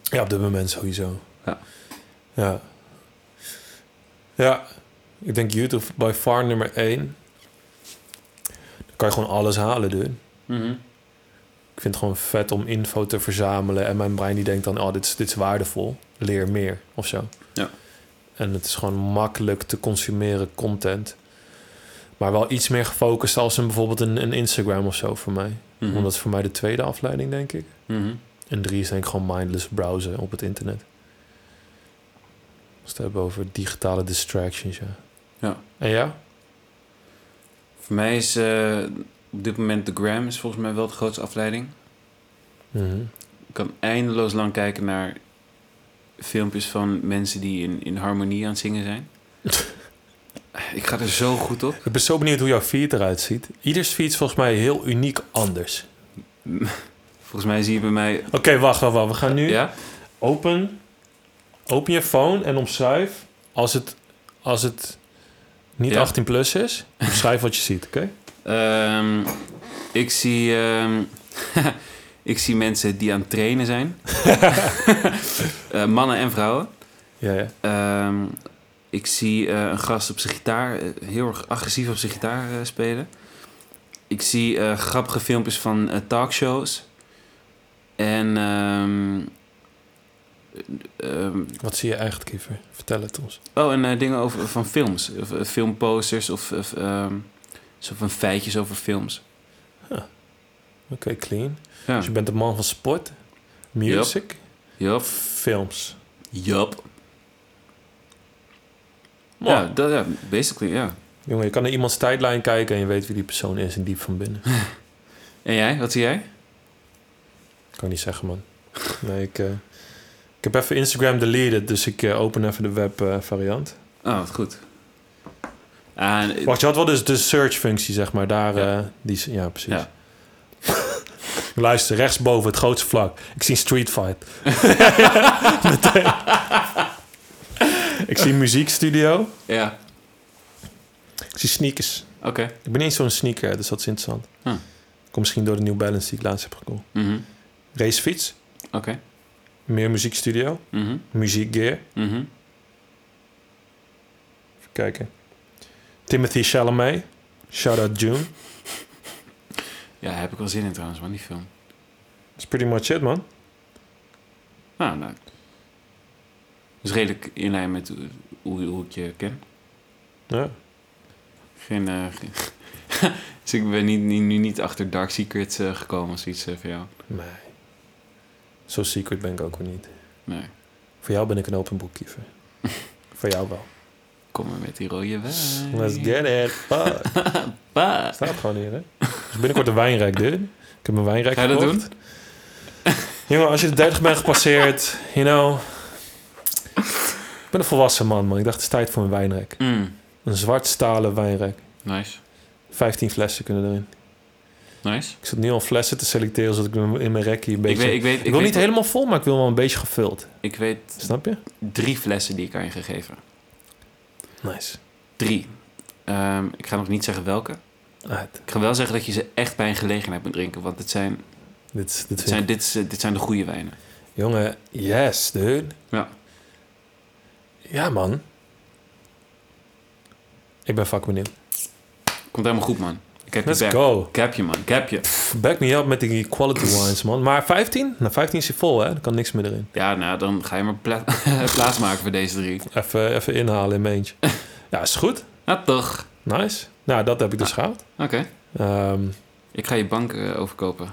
Speaker 1: ja, op dit moment sowieso.
Speaker 3: Ja.
Speaker 1: Ja. Ja. Ik denk YouTube by far nummer één. Dan kan je gewoon alles halen, dude. Ik vind het gewoon vet om info te verzamelen. En mijn brein die denkt dan, oh, dit is, dit is waardevol. Leer meer of zo.
Speaker 3: Ja.
Speaker 1: En het is gewoon makkelijk te consumeren content. Maar wel iets meer gefocust als een, bijvoorbeeld een, een Instagram of zo voor mij.
Speaker 3: Mhm.
Speaker 1: Want dat is voor mij de tweede afleiding, denk ik.
Speaker 3: Mhm.
Speaker 1: En drie is denk ik gewoon mindless browsen op het internet. Als we het hebben over digitale distractions, ja.
Speaker 3: Ja.
Speaker 1: En ja?
Speaker 3: Voor mij is eh, op dit moment de gram is volgens mij wel de grootste afleiding.
Speaker 1: Mhm.
Speaker 3: Ik kan eindeloos lang kijken naar filmpjes van mensen die in, in harmonie aan het zingen zijn. ik ga er zo goed op.
Speaker 1: Ik ben zo benieuwd hoe jouw feed eruit ziet. Ieders feed is volgens mij heel uniek anders.
Speaker 3: Volgens mij zie je bij mij...
Speaker 1: Oké, wacht, wacht, wacht. We gaan nu...
Speaker 3: Ja?
Speaker 1: open, open je phone en omschrijf als het, als het niet
Speaker 3: Ja.
Speaker 1: 18 plus is. Omschrijf wat je ziet, oké?
Speaker 3: Ehm, ik zie... ehm, ik zie mensen die aan het trainen zijn. Eh, mannen en vrouwen.
Speaker 1: Ja, ja.
Speaker 3: Ehm, ik zie eh, een gast op zijn gitaar, eh, heel erg agressief op zijn gitaar eh, spelen. Ik zie eh, grappige filmpjes van eh, talkshows. En ehm, ehm,
Speaker 1: Wat zie je eigenlijk, Kiefer? Vertel het ons.
Speaker 3: oh, en eh, dingen over, van films. Of, eh, filmposters of, of ehm, zo van feitjes over films.
Speaker 1: Oké, clean.
Speaker 3: Ja.
Speaker 1: Dus je bent een man van sport, music,
Speaker 3: Yup.
Speaker 1: films.
Speaker 3: Yup.
Speaker 1: Mooi.
Speaker 3: Ja, dat, ja, basically, ja.
Speaker 1: Jongen, je kan naar iemands tijdlijn kijken en je weet wie die persoon is en diep van binnen.
Speaker 3: En jij, wat zie jij?
Speaker 1: kan niet zeggen, man. Nee, ik, eh, ik heb even Instagram deleted, dus ik eh, open even de web eh, variant.
Speaker 3: Oh, wat goed. Ah, en-
Speaker 1: Wacht, je had wel dus de search functie, zeg maar. Daar,
Speaker 3: Ja.
Speaker 1: eh, die, is- ja precies.
Speaker 3: Ja.
Speaker 1: Luister, rechtsboven, het grootste vlak. Ik zie een street fight. Meteen. ik zie een muziekstudio.
Speaker 3: ja,
Speaker 1: Ik zie sneakers.
Speaker 3: oké.
Speaker 1: Ik ben niet eens zo'n sneaker, dus dat is interessant.
Speaker 3: Hm.
Speaker 1: Komt misschien door de New Balance die ik laatst heb gekocht.
Speaker 3: Mhm.
Speaker 1: Racefiets.
Speaker 3: Oké.
Speaker 1: Meer muziekstudio.
Speaker 3: Mhm.
Speaker 1: Muziekgear.
Speaker 3: Mhm.
Speaker 1: Even kijken. Timothy Chalamet. Shout-out June.
Speaker 3: Ja, daar heb ik wel zin in trouwens, man, die film.
Speaker 1: That's pretty much it, man.
Speaker 3: Nou, nou. Dus redelijk in lijn met hoe- hoe, hoe ik je ken.
Speaker 1: Ja.
Speaker 3: Geen, eh, geen- dus ik ben niet, niet- nu niet achter Dark Secrets eh, gekomen als iets eh, van jou.
Speaker 1: Nee. Zo secret ben ik ook weer niet.
Speaker 3: Nee,
Speaker 1: Voor jou ben ik een open boek, Kiefer. Voor jou wel.
Speaker 3: kom maar met die rode wijn.
Speaker 1: Let's get it. Fuck.
Speaker 3: Bah.
Speaker 1: Staat gewoon hier, hè? Dus binnenkort een wijnrijk, dude. Ik heb een wijnrijk
Speaker 3: Ga je dat
Speaker 1: gekocht. Jongen, als je de 30 bent gepasseerd, you know... Ik ben een volwassen man, man. Ik dacht, het is tijd voor een wijnrijk.
Speaker 3: Mm,
Speaker 1: Een zwart stalen wijnrijk.
Speaker 3: nice,
Speaker 1: 15 flessen kunnen erin.
Speaker 3: nice.
Speaker 1: Ik zit nu al flessen te selecteren, zodat ik hem in mijn rekje een beetje...
Speaker 3: Ik weet, ik weet,
Speaker 1: ik wil
Speaker 3: weet-
Speaker 1: niet helemaal vol, maar ik wil wel een beetje gevuld.
Speaker 3: Ik weet
Speaker 1: Snap je?
Speaker 3: drie flessen die ik aan je gegeven.
Speaker 1: Nice.
Speaker 3: Drie. Ehm, ik ga nog niet zeggen welke.
Speaker 1: Uit.
Speaker 3: Ik ga wel zeggen dat je ze echt bij een gelegenheid moet drinken. Want het zijn,
Speaker 1: Dit, is- dit
Speaker 3: het
Speaker 1: vind ik
Speaker 3: zijn, dit is, eh, dit zijn de goede wijnen.
Speaker 1: Jongen, yes, dude.
Speaker 3: Ja.
Speaker 1: Ja, man. Ik ben fucking benieuwd.
Speaker 3: Komt helemaal goed, man. Ik Ik heb
Speaker 1: Let's
Speaker 3: je back.
Speaker 1: go.
Speaker 3: Ik heb je, man. Ik heb je.
Speaker 1: Back me up met die quality wines, man. Maar 15? Nou, 15 is je vol, hè? Dan kan niks meer erin.
Speaker 3: Ja, nou, dan ga je maar pla- plaats maken voor deze drie.
Speaker 1: Even, even inhalen in mijn eentje. Ja, is goed.
Speaker 3: Nou, toch.
Speaker 1: Nice. Nou, dat heb ik
Speaker 3: Ah.
Speaker 1: dus gehaald.
Speaker 3: Oké.
Speaker 1: Ehm
Speaker 3: Ik ga je bank eh, overkopen.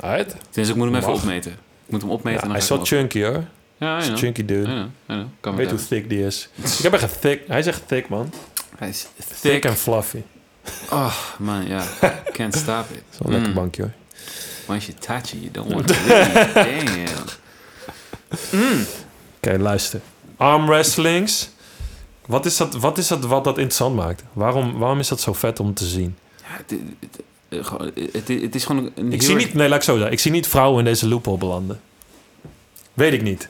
Speaker 1: alright.
Speaker 3: Dus ik moet hem even
Speaker 1: Mag.
Speaker 3: opmeten. Ik moet hem opmeten
Speaker 1: Ja,
Speaker 3: en dan
Speaker 1: hij is
Speaker 3: ga ik
Speaker 1: wel
Speaker 3: hem
Speaker 1: chunky, hoor.
Speaker 3: over- Ah, Ja, I
Speaker 1: Hij is
Speaker 3: know.
Speaker 1: een chunky
Speaker 3: I
Speaker 1: dude.
Speaker 3: know. I know.
Speaker 1: Weet
Speaker 3: Weet
Speaker 1: hoe thick die is. Ik heb echt een thick... Hij is echt thick, man.
Speaker 3: Hij is
Speaker 1: Thick
Speaker 3: thick.
Speaker 1: en fluffy.
Speaker 3: Oh, man, ja. Can't stop it.
Speaker 1: Dat is wel een lekker
Speaker 3: Mm.
Speaker 1: bankje, hoor.
Speaker 3: Once you touch it, you don't want to leave. Damn.
Speaker 1: Oké, luister. Arm wrestlings. Wat is, dat, wat is dat wat dat interessant maakt? Waarom, waarom is dat zo vet om te zien?
Speaker 3: Ja, het, het- eh, gewoon- het- het is gewoon een
Speaker 1: Ik
Speaker 3: heel
Speaker 1: zie
Speaker 3: erg
Speaker 1: niet... Nee, laat ik zo zeggen. Ik zie niet vrouwen in deze loophole belanden. Weet ik niet.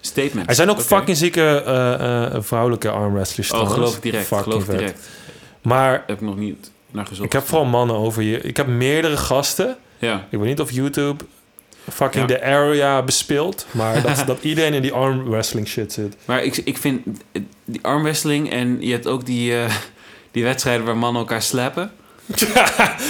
Speaker 3: statement.
Speaker 1: Er zijn ook
Speaker 3: Oké.
Speaker 1: fucking zieke eh, eh, vrouwelijke armwrestlers.
Speaker 3: Oh,
Speaker 1: trouwens.
Speaker 3: geloof ik direct.
Speaker 1: Fucking
Speaker 3: geloof ik
Speaker 1: vet.
Speaker 3: direct.
Speaker 1: Maar
Speaker 3: Heb ik nog niet naar gezocht.
Speaker 1: ik heb vooral mannen over je. Ik heb meerdere gasten.
Speaker 3: Ja.
Speaker 1: Ik weet niet of YouTube fucking
Speaker 3: Ja.
Speaker 1: de area bespeelt. Maar dat, dat iedereen in die armwrestling shit zit.
Speaker 3: Maar ik, ik vind eh, die armwrestling en je hebt ook die, eh, die wedstrijden waar mannen elkaar slappen.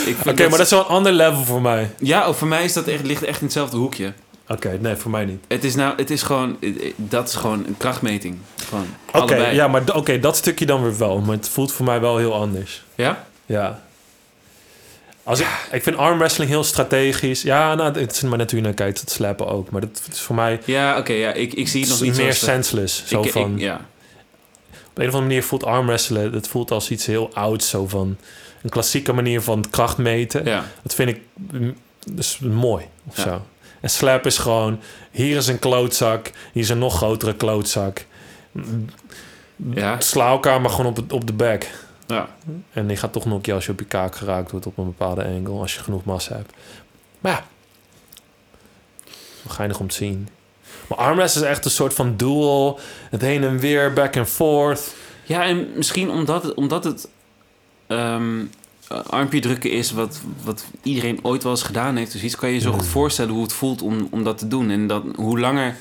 Speaker 3: Ik
Speaker 1: Oké, maar dat is wel een ander level voor mij.
Speaker 3: Ja, oh, voor mij is dat echt, ligt echt in hetzelfde hoekje.
Speaker 1: Oké, nee, voor mij niet.
Speaker 3: Het is nou, het is gewoon, eh, eh, dat is gewoon een krachtmeting. Gewoon,
Speaker 1: Oké,
Speaker 3: allebei.
Speaker 1: ja, maar d- oké, dat stukje dan weer wel. Maar het voelt voor mij wel heel anders.
Speaker 3: Ja?
Speaker 1: Ja. Als ik, ik vind armwrestling heel strategisch. Ja, nou, het is maar natuurlijk naar kijkt, het slappen ook. Maar dat is voor mij
Speaker 3: Ja, oké, ja, ik, ik zie het nog niet
Speaker 1: meer
Speaker 3: zo...
Speaker 1: senseless. Zo
Speaker 3: ik, ik-
Speaker 1: van,
Speaker 3: ja.
Speaker 1: Op een of andere manier voelt armwrestelen... dat voelt als iets heel ouds. Zo van een klassieke manier van kracht meten.
Speaker 3: ja,
Speaker 1: Dat vind ik mm, dus mooi of
Speaker 3: Ja.
Speaker 1: zo. En slap is gewoon... hier is een klootzak, hier is een nog grotere klootzak. Mm,
Speaker 3: ja,
Speaker 1: Sla elkaar maar gewoon op, het- op de bek.
Speaker 3: ja.
Speaker 1: En die gaat toch nog je als je op je kaak geraakt wordt... op een bepaalde angle, als je genoeg massa hebt. Maar ja, wel geinig om te zien. Maar armwrestling is echt een soort van duel. Het heen en weer, back and forth...
Speaker 3: Ja, en misschien omdat het, omdat het ehm, armpje drukken is wat, wat iedereen ooit wel eens gedaan heeft. Dus iets kan je je zo
Speaker 1: Mm.
Speaker 3: goed voorstellen hoe het voelt om, om dat te doen. En dat, hoe langer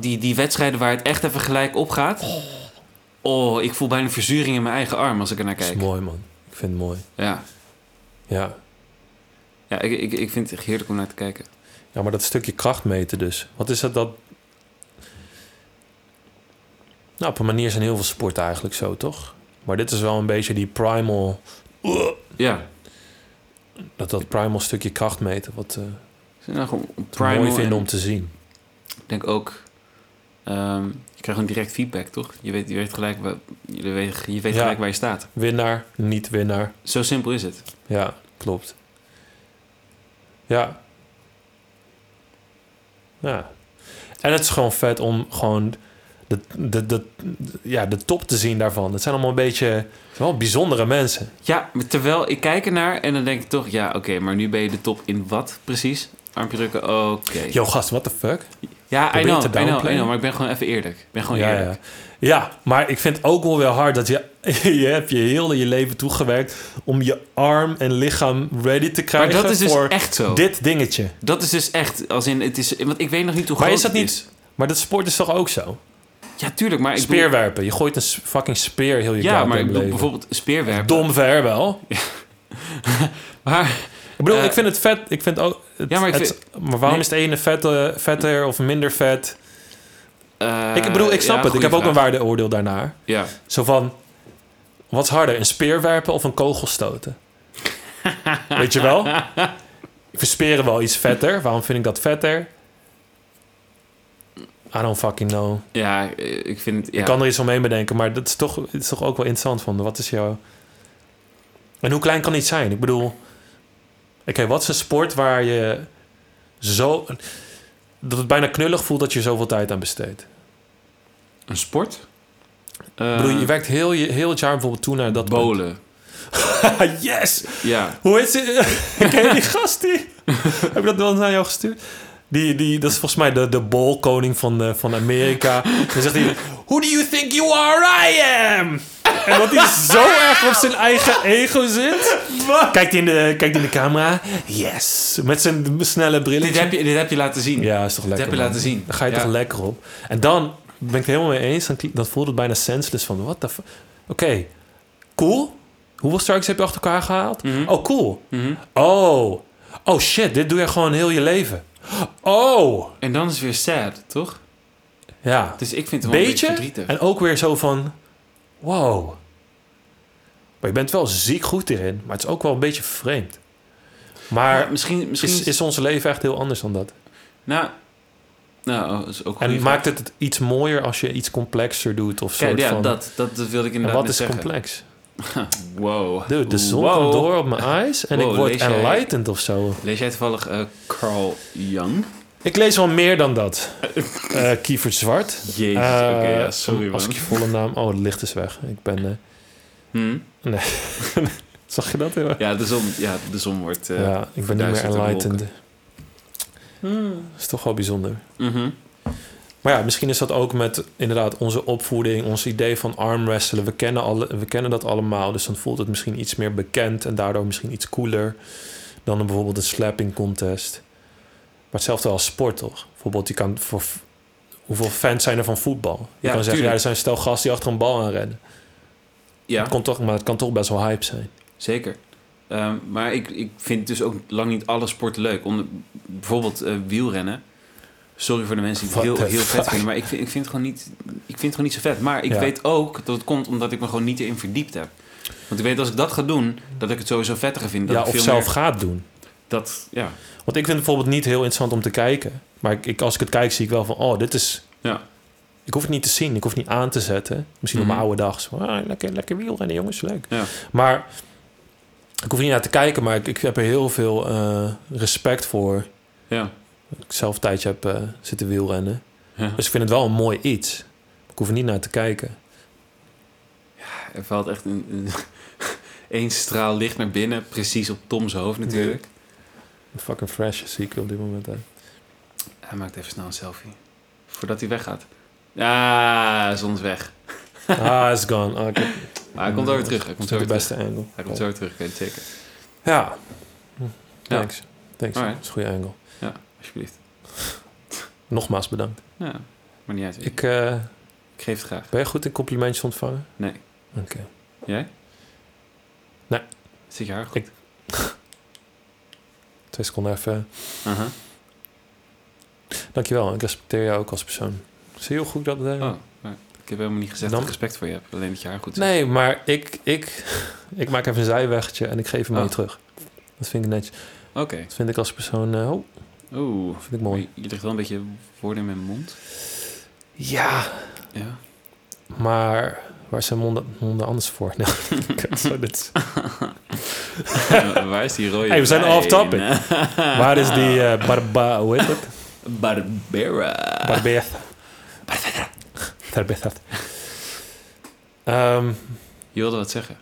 Speaker 3: die, die wedstrijden waar het echt even gelijk op gaat. Oh, ik voel bijna verzuring in mijn eigen arm als ik er naar
Speaker 1: Dat
Speaker 3: kijk.
Speaker 1: is mooi, man. Ik vind het mooi.
Speaker 3: Ja,
Speaker 1: Ja.
Speaker 3: ja ik, ik, ik vind het echt heerlijk om naar te kijken.
Speaker 1: ja, maar dat stukje kracht meten dus. Wat is dat dat... Nou, op een manier zijn heel veel sporten eigenlijk zo, toch? Maar dit is wel een beetje die primal...
Speaker 3: Ja,
Speaker 1: Dat, dat primal stukje kracht meten. Wat eh
Speaker 3: ze zijn gewoon
Speaker 1: primal
Speaker 3: primal.
Speaker 1: mooi vinden
Speaker 3: en
Speaker 1: om te zien.
Speaker 3: Ik denk ook, ehm, je krijgt gewoon direct feedback, toch? Je weet, je weet, gelijk, waar, je weet, je weet
Speaker 1: Ja.
Speaker 3: gelijk waar je staat.
Speaker 1: Winnaar, niet winnaar.
Speaker 3: Zo simpel is het.
Speaker 1: Ja, klopt. Ja. Ja. En het is gewoon vet om gewoon de, de, de, ja, de top te zien daarvan. Het zijn allemaal een beetje het zijn wel bijzondere mensen.
Speaker 3: Ja, maar terwijl ik kijk ernaar en dan denk ik toch, ja, oké, maar nu ben je de top in wat precies? Armpje drukken, oké.
Speaker 1: Yo, gast, what the fuck?
Speaker 3: Ja, I
Speaker 1: probeer
Speaker 3: know,
Speaker 1: te
Speaker 3: I know, I
Speaker 1: downplayen.
Speaker 3: know, maar ik ben gewoon even eerlijk. Ik ben gewoon
Speaker 1: ja, ja.
Speaker 3: eerlijk.
Speaker 1: ja, maar ik vind het ook wel weer hard dat je, je hebt je heel je leven toegewerkt om je arm en lichaam ready te
Speaker 3: Maar
Speaker 1: krijgen
Speaker 3: dat is dus
Speaker 1: voor
Speaker 3: echt zo.
Speaker 1: dit dingetje.
Speaker 3: Dat is dus echt, als in, het is, want ik weet nog niet hoe
Speaker 1: Maar
Speaker 3: groot
Speaker 1: is dat
Speaker 3: het
Speaker 1: niet- Maar dat sport is toch ook zo?
Speaker 3: Ja, tuurlijk, maar ik bedoel-
Speaker 1: Speerwerpen. Je gooit een s- fucking speer heel je
Speaker 3: Ja,
Speaker 1: goddamn
Speaker 3: maar ik bedoel
Speaker 1: leven.
Speaker 3: bijvoorbeeld speerwerpen.
Speaker 1: Dom ver wel.
Speaker 3: Maar,
Speaker 1: Ik bedoel,
Speaker 3: Eh,
Speaker 1: ik vind het vet. Ik vind ook. Het,
Speaker 3: Ja, maar ik
Speaker 1: het- maar waarom
Speaker 3: nee.
Speaker 1: is het ene vet, eh, vetter of minder vet?
Speaker 3: eh,
Speaker 1: ik bedoel, ik snap
Speaker 3: ja,
Speaker 1: het. Ik
Speaker 3: goeie
Speaker 1: heb ook een
Speaker 3: vraag.
Speaker 1: waardeoordeel daarnaar.
Speaker 3: Ja,
Speaker 1: Zo van. Wat is harder, een speer werpen of een kogel stoten? Weet je wel? Ik vind speren wel iets vetter. Waarom vind ik dat vetter? I don't fucking know.
Speaker 3: ja, eh, ik vind het... Ja.
Speaker 1: Ik kan er iets omheen bedenken, maar dat is toch, het is toch ook wel interessant van. Wat is jouw. En hoe klein kan iets zijn? Ik bedoel. Oké, wat is een sport waar je zo. dat het bijna knullig voelt dat je zoveel tijd aan besteedt?
Speaker 3: Een sport? Eh,
Speaker 1: ik bedoel, je werkt heel, je- heel het jaar bijvoorbeeld toe naar dat.
Speaker 3: Bolen,
Speaker 1: punt. yes!
Speaker 3: ja.
Speaker 1: Hoe heet ze? Ken je die gast die? Heb je dat wel naar jou gestuurd? Die, die, dat is volgens mij de, de bolkoning van, eh, van Amerika. Dan zegt hij... Who do you think you are? I am! En dat hij zo erg op zijn eigen ego zit. Kijkt hij in de, kijkt hij in de camera. Yes! Met zijn snelle
Speaker 3: Dit
Speaker 1: brilletje.
Speaker 3: heb, je, dit heb je laten zien.
Speaker 1: Ja, is toch lekker.
Speaker 3: heb je
Speaker 1: man.
Speaker 3: laten zien.
Speaker 1: Daar ga je
Speaker 3: Ja.
Speaker 1: toch lekker op. En dan ben ik het helemaal mee eens. Dan, kli- dan voelt het bijna senseless van... What the fu- Oké, cool. Hoeveel strikes heb je achter elkaar gehaald?
Speaker 3: Mhm.
Speaker 1: Oh, cool.
Speaker 3: Mhm.
Speaker 1: Oh. Oh shit, dit doe je gewoon heel je leven. Oh.
Speaker 3: En dan is het weer sad, toch?
Speaker 1: Ja.
Speaker 3: Dus ik vind het wel
Speaker 1: Beetje.
Speaker 3: een beetje verdrietig.
Speaker 1: En ook weer zo van... Wow. Maar je bent wel ziek goed erin. Maar het is ook wel een beetje vreemd. Maar
Speaker 3: Maar misschien, misschien
Speaker 1: is, is ons leven echt heel anders dan dat.
Speaker 3: Nou, nou oh, dat is ook
Speaker 1: En
Speaker 3: goed.
Speaker 1: maakt het het iets mooier als je iets complexer doet of soort
Speaker 3: Kijk, ja,
Speaker 1: van...
Speaker 3: dat, dat wilde ik
Speaker 1: en
Speaker 3: inderdaad
Speaker 1: wat
Speaker 3: net
Speaker 1: is
Speaker 3: zeggen.
Speaker 1: complex?
Speaker 3: Wow.
Speaker 1: Dude, de zon
Speaker 3: Wow.
Speaker 1: komt door op mijn eyes en
Speaker 3: Wow,
Speaker 1: ik word
Speaker 3: lees jij-
Speaker 1: enlightened of zo.
Speaker 3: Lees jij toevallig eh, Carl Jung?
Speaker 1: Ik lees wel meer dan dat. Eh Kiefer Zwart.
Speaker 3: Jezus,
Speaker 1: Eh,
Speaker 3: oké, ja, sorry man.
Speaker 1: Als ik je volle naam... Oh, het licht is weg. Ik ben... eh,
Speaker 3: Hm?
Speaker 1: zag je dat? heel erg?
Speaker 3: Ja, de zon, ja, de zon wordt... eh,
Speaker 1: ja, ik ben niet meer
Speaker 3: verduisterd door
Speaker 1: enlightened.
Speaker 3: wolken.
Speaker 1: Dat is toch wel bijzonder.
Speaker 3: mhm.
Speaker 1: Maar ja, misschien is dat ook met inderdaad onze opvoeding, ons idee van armwrestelen. We kennen, alle, we kennen dat allemaal, dus dan voelt het misschien iets meer bekend en daardoor misschien iets cooler dan een, bijvoorbeeld een slapping contest. Maar hetzelfde als sport, toch? Bijvoorbeeld, je kan voor hoeveel fans zijn er van voetbal? Je kan
Speaker 3: Ja,
Speaker 1: zeggen,
Speaker 3: tuurlijk.
Speaker 1: ja, er zijn stel gasten die achter een bal aan rennen.
Speaker 3: Ja,
Speaker 1: Het kon toch, maar het kan toch best wel hype zijn.
Speaker 3: zeker. Ehm, maar ik, ik vind dus ook lang niet alle sporten leuk. Om, bijvoorbeeld eh, wielrennen. Sorry voor de mensen die het
Speaker 1: What
Speaker 3: heel,
Speaker 1: the
Speaker 3: heel vet
Speaker 1: fuck?
Speaker 3: vinden. Maar ik vind, ik, vind het gewoon niet, ik vind het gewoon niet zo vet. Maar ik
Speaker 1: Ja.
Speaker 3: weet ook dat het komt omdat ik me gewoon niet erin verdiept heb. Want ik weet als ik dat ga doen, dat ik het sowieso vetter ga vinden. Dat
Speaker 1: Ja,
Speaker 3: ik
Speaker 1: of
Speaker 3: veel
Speaker 1: zelf
Speaker 3: meer-
Speaker 1: gaat doen.
Speaker 3: dat, ja.
Speaker 1: Want ik vind het bijvoorbeeld niet heel interessant om te kijken. Maar ik, ik- als ik het kijk, zie ik wel van... Oh, dit is...
Speaker 3: Ja.
Speaker 1: Ik hoef het niet te zien. Ik hoef het niet aan te zetten. Misschien
Speaker 3: Mhm.
Speaker 1: op mijn oude dag. Zo, ah, lekker, lekker wielrennen, jongens. Leuk.
Speaker 3: Ja.
Speaker 1: Maar ik hoef er niet naar te kijken. Maar ik, ik heb er heel veel eh, respect voor.
Speaker 3: Ja.
Speaker 1: Ik zelf een tijdje heb eh, zitten wielrennen.
Speaker 3: Ja.
Speaker 1: Dus ik vind het wel een mooi iets. Ik hoef er niet naar te kijken.
Speaker 3: Er valt echt een, een, één straal licht naar binnen, precies op Tom's hoofd natuurlijk.
Speaker 1: Fucking fresh zie ik op dit moment uit.
Speaker 3: Hij maakt even snel een selfie. Voordat hij weggaat. Ah, zon is weg.
Speaker 1: Ah, it's gone. Ah, ik heb-
Speaker 3: Maar hij komt zo weer terug. Hij komt zo
Speaker 1: de
Speaker 3: weer terug.
Speaker 1: beste angle.
Speaker 3: Hij komt zo weer terug, ik weet het zeker.
Speaker 1: Ja. Hm,
Speaker 3: Ja.
Speaker 1: Thanks. Thanks.
Speaker 3: Alright.
Speaker 1: Dat is een goede angle.
Speaker 3: Alsjeblieft.
Speaker 1: Nogmaals bedankt.
Speaker 3: Ja, maar niet uit. Ik,
Speaker 1: Ik, eh,
Speaker 3: ik geef het graag.
Speaker 1: ben je goed in complimentjes ontvangen?
Speaker 3: Nee.
Speaker 1: Oké.
Speaker 3: Jij?
Speaker 1: Nee.
Speaker 3: Zit je haar goed?
Speaker 1: Ik- Twee seconden even.
Speaker 3: Aha.
Speaker 1: Dankjewel. Ik respecteer jou ook als persoon. Zie je hoe goed ik dat eh, deed?
Speaker 3: Oh, maar ik heb helemaal niet gezegd dat
Speaker 1: Dan-
Speaker 3: ik respect voor je heb. Alleen dat je haar goed zit.
Speaker 1: nee, maar ik, ik, ik maak even een zijwegje en ik geef hem aan je
Speaker 3: Oh.
Speaker 1: terug. Dat vind ik netjes.
Speaker 3: Oké.
Speaker 1: Dat vind ik als persoon... eh, oh,
Speaker 3: Oeh.
Speaker 1: dat vind ik mooi.
Speaker 3: Je ligt wel een beetje woorden in mijn mond.
Speaker 1: Ja.
Speaker 3: Ja.
Speaker 1: Maar waar zijn monden, monden anders voor? Nee, kut, zo, dit is-
Speaker 3: Waar is die rode
Speaker 1: Hey, we zijn
Speaker 3: wijn?
Speaker 1: off topic. Waar is die eh barba... Hoe heet dat?
Speaker 3: Barbera.
Speaker 1: Barbeth. Barbeth. Ehm
Speaker 3: Je wilde wat zeggen.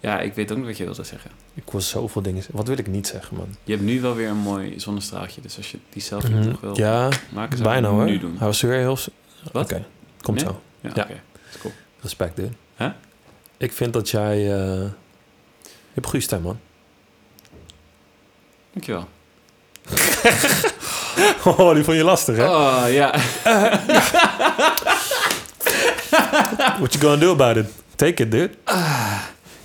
Speaker 3: Ja, ik weet ook niet wat je wilde zeggen.
Speaker 1: ik wil zoveel dingen zeggen. Wat wil ik niet zeggen, man?
Speaker 3: Je hebt nu wel weer een mooi zonnestraaltje. Dus als je die zelf
Speaker 1: Mhm.
Speaker 3: nog wil
Speaker 1: Ja,
Speaker 3: maken, zou ik
Speaker 1: bijna
Speaker 3: het
Speaker 1: hoor.
Speaker 3: nu doen.
Speaker 1: Hij was weer heel... s- Oké,
Speaker 3: Wat?
Speaker 1: komt
Speaker 3: Nee?
Speaker 1: zo.
Speaker 3: Ja,
Speaker 1: Ja.
Speaker 3: oké. Dat is cool.
Speaker 1: Respect, dude.
Speaker 3: Hè?
Speaker 1: Ik vind dat jij... eh, Je hebt een goede stem, man.
Speaker 3: Dankjewel.
Speaker 1: Oh, die vond je lastig, hè?
Speaker 3: Oh, ja.
Speaker 1: What you gonna do about it? Take it, dude.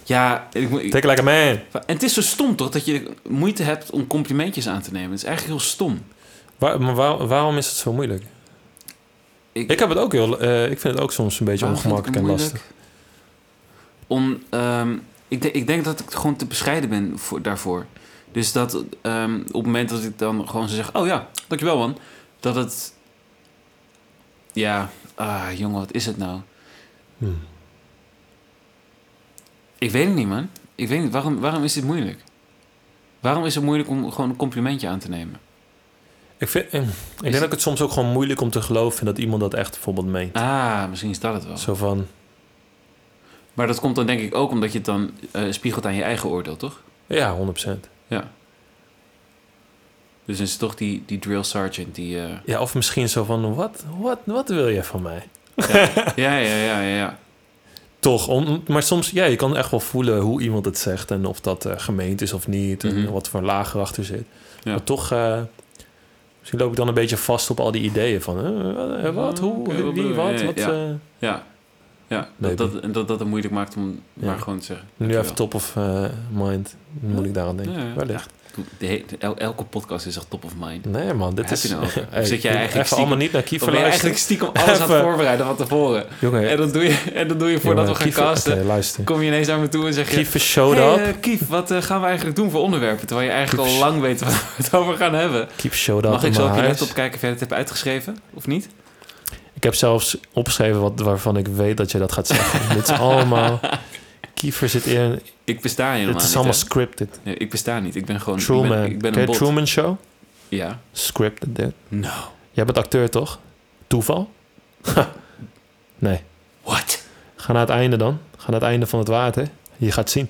Speaker 3: Ja, ik, moet- ik-
Speaker 1: Take it like a man.
Speaker 3: en het is zo stom toch dat je moeite hebt om complimentjes aan te nemen. Het is eigenlijk heel stom.
Speaker 1: Waar- maar waar- waarom is het zo moeilijk?
Speaker 3: Ik-
Speaker 1: Ik, heb het ook heel... eh, ik vind het ook soms een beetje
Speaker 3: Waarom vind ik
Speaker 1: ongemakkelijk en
Speaker 3: het
Speaker 1: lastig.
Speaker 3: moeilijk? Om, ehm, ik, de- ik denk dat ik gewoon te bescheiden ben voor, daarvoor. Dus dat ehm, op het moment dat ik dan gewoon zo zeg... Oh ja, dankjewel man. Dat het... Ja, ah, jongen, wat is het nou?
Speaker 1: Hm.
Speaker 3: Ik weet het niet, man. Ik weet niet. Waarom, waarom is dit moeilijk? Waarom is het moeilijk om gewoon een complimentje aan te nemen?
Speaker 1: Ik, vind, eh, ik, ik denk dat ik het soms ook gewoon moeilijk om te geloven dat iemand dat echt bijvoorbeeld meent.
Speaker 3: Ah, misschien is dat het wel.
Speaker 1: Zo van,
Speaker 3: Maar dat komt dan denk ik ook omdat je het dan eh, spiegelt aan je eigen oordeel, toch?
Speaker 1: ja, 100%.
Speaker 3: Ja. Dus is het toch die, die drill sergeant die... eh,
Speaker 1: Ja, of misschien zo van, wat, wat, wat wil je van mij?
Speaker 3: Ja, ja, ja, ja, ja.
Speaker 1: Toch, om, maar soms, ja, je kan echt wel voelen hoe iemand het zegt en of dat eh, gemeend is of niet
Speaker 3: Mhm.
Speaker 1: en wat voor laag erachter zit.
Speaker 3: Ja.
Speaker 1: Maar toch, eh, misschien loop ik dan een beetje vast op al die ideeën van, eh, wat, eh, wat, hoe,
Speaker 3: Oké, wat
Speaker 1: wie,
Speaker 3: bedoel je?
Speaker 1: wat,
Speaker 3: Ja,
Speaker 1: wat.
Speaker 3: ja.
Speaker 1: eh,
Speaker 3: Ja, Ja,
Speaker 1: Maybe.
Speaker 3: dat dat, dat dat het moeilijk maakt om maar gewoon te zeggen.
Speaker 1: Nu even
Speaker 3: dankjewel.
Speaker 1: top of eh, mind. Moet ik daar aan denken.
Speaker 3: Ja, ja.
Speaker 1: Wellicht.
Speaker 3: De he- de- el- elke podcast is echt top of mind.
Speaker 1: Nee man, dit
Speaker 3: Heb
Speaker 1: is...
Speaker 3: je nou over?
Speaker 1: Hey,
Speaker 3: Zit jij eigenlijk
Speaker 1: even
Speaker 3: stiekem-
Speaker 1: allemaal niet naar
Speaker 3: Ik
Speaker 1: Kiefer
Speaker 3: ben je eigenlijk
Speaker 1: luisteren?
Speaker 3: stiekem alles aan het
Speaker 1: Even-
Speaker 3: voorbereiden van tevoren.
Speaker 1: Jongen,
Speaker 3: En dat doe je, en dat doe je voordat
Speaker 1: jongen,
Speaker 3: we
Speaker 1: Kiefer-
Speaker 3: gaan casten.
Speaker 1: Oké, luister.
Speaker 3: Kom je ineens naar me toe en zeg je...
Speaker 1: Kiefer showed
Speaker 3: hey,
Speaker 1: up.
Speaker 3: eh, Kief, wat eh, gaan we eigenlijk doen voor onderwerpen? Terwijl je eigenlijk
Speaker 1: Kief-
Speaker 3: al lang weet waar we het over gaan hebben.
Speaker 1: Kiefer showed up
Speaker 3: Mag
Speaker 1: in
Speaker 3: ik zo op
Speaker 1: mijn
Speaker 3: je
Speaker 1: huis.
Speaker 3: laptop kijken of jij het hebt uitgeschreven? Of niet?
Speaker 1: Ik heb zelfs opgeschreven wat, waarvan ik weet dat je dat gaat zeggen. dit is allemaal... Kiefer zit in...
Speaker 3: Ik besta helemaal
Speaker 1: Dit
Speaker 3: niet.
Speaker 1: is allemaal
Speaker 3: hè?
Speaker 1: scripted.
Speaker 3: Nee, ik besta niet. Ik ben gewoon... ik ben,
Speaker 1: Truman.
Speaker 3: ik ben
Speaker 1: Ken
Speaker 3: een
Speaker 1: je
Speaker 3: bot.
Speaker 1: Truman Show?
Speaker 3: Ja.
Speaker 1: Scripted dit.
Speaker 3: No.
Speaker 1: Jij bent acteur toch? Toeval? nee.
Speaker 3: What?
Speaker 1: Ga naar het einde dan. Ga naar het einde van het water. Je gaat zien.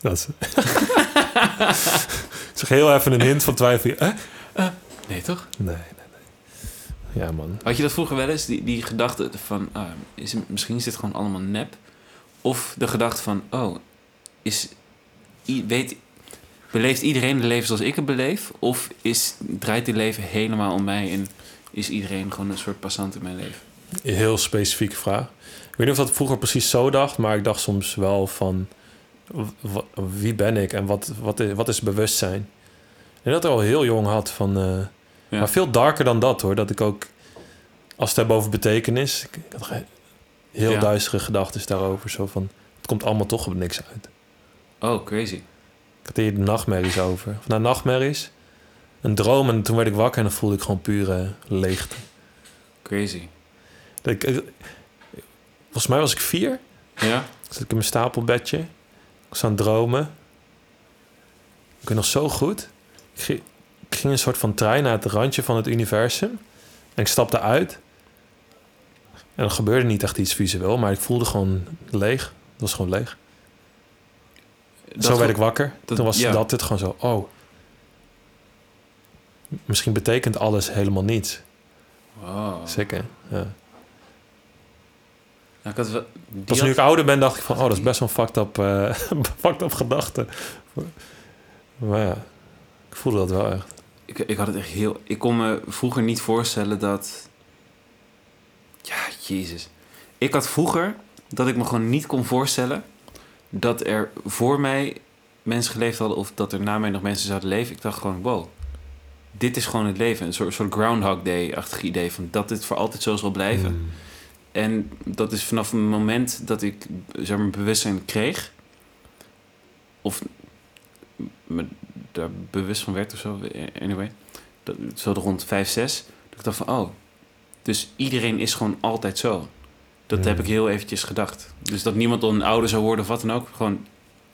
Speaker 1: Dat is... zeg heel even een hint van twijfel. Eh?
Speaker 3: Nee, toch?
Speaker 1: Nee, nee, nee. Ja, man.
Speaker 3: Had je dat vroeger wel eens? Die, die gedachte van... ah, is, misschien is dit gewoon allemaal nep. Of de gedachte van... Oh, is... i- Weet... Beleeft iedereen het leven zoals ik het beleef? Of is, draait dit leven helemaal om mij en is iedereen gewoon een soort passant in mijn leven?
Speaker 1: Een heel specifieke vraag. Ik weet niet of dat vroeger precies zo dacht, maar ik dacht soms wel van w- w- wie ben ik en wat, wat, is, wat is bewustzijn? En dat ik al heel jong had van. eh,
Speaker 3: Ja.
Speaker 1: Maar veel darker dan dat hoor. Dat ik ook, als het hebben over betekenis, ik, ik had ge- heel
Speaker 3: Ja.
Speaker 1: duistere gedachten daarover. Zo van, het komt allemaal toch op niks uit.
Speaker 3: Oh, crazy.
Speaker 1: Ik had hier nachtmerries over. Of nou, nachtmerries. Een droom en toen werd ik wakker en dan voelde ik gewoon pure leegte.
Speaker 3: Crazy.
Speaker 1: Dat ik, ik- volgens mij was ik vier.
Speaker 3: Ja?
Speaker 1: Zat ik in mijn stapelbedje. Ik was aan het dromen. Ik weet nog zo goed. Ik ging, ik ging een soort van trein naar het randje van het universum. En ik stapte uit. En er gebeurde niet echt iets visueel, maar ik voelde gewoon leeg. Het was gewoon leeg.
Speaker 3: Dat
Speaker 1: zo werd
Speaker 3: gewoon-
Speaker 1: ik wakker.
Speaker 3: dat-
Speaker 1: Toen was
Speaker 3: ja.
Speaker 1: dat het gewoon zo, oh. Misschien betekent alles helemaal niets.
Speaker 3: Wow.
Speaker 1: Zeker. Ja.
Speaker 3: Nou, ik had wel, die
Speaker 1: Pas nu
Speaker 3: had-
Speaker 1: ik ouder ben, dacht ik van, oh, dat is best wel een fucked up, eh, fucked up gedachte. Maar ja, ik voelde dat wel echt.
Speaker 3: ik, ik had het echt heel. Ik kon me vroeger niet voorstellen dat. Ja, Jezus. Ik had vroeger dat ik me gewoon niet kon voorstellen dat er voor mij mensen geleefd hadden of dat er na mij nog mensen zouden leven. Ik dacht gewoon, wow, dit is gewoon het leven. Een soort, soort Groundhog Day-achtig idee van dat dit voor altijd zo zal blijven. En dat is vanaf het moment dat ik zeg maar, bewustzijn kreeg, of me daar bewust van werd of zo, anyway, dat, zo rond 5, 6, dat ik dacht van, oh, dus iedereen is gewoon altijd zo. Dat
Speaker 1: Ja.
Speaker 3: heb ik heel eventjes gedacht. Dus dat niemand dan ouder zou worden of wat dan ook, gewoon,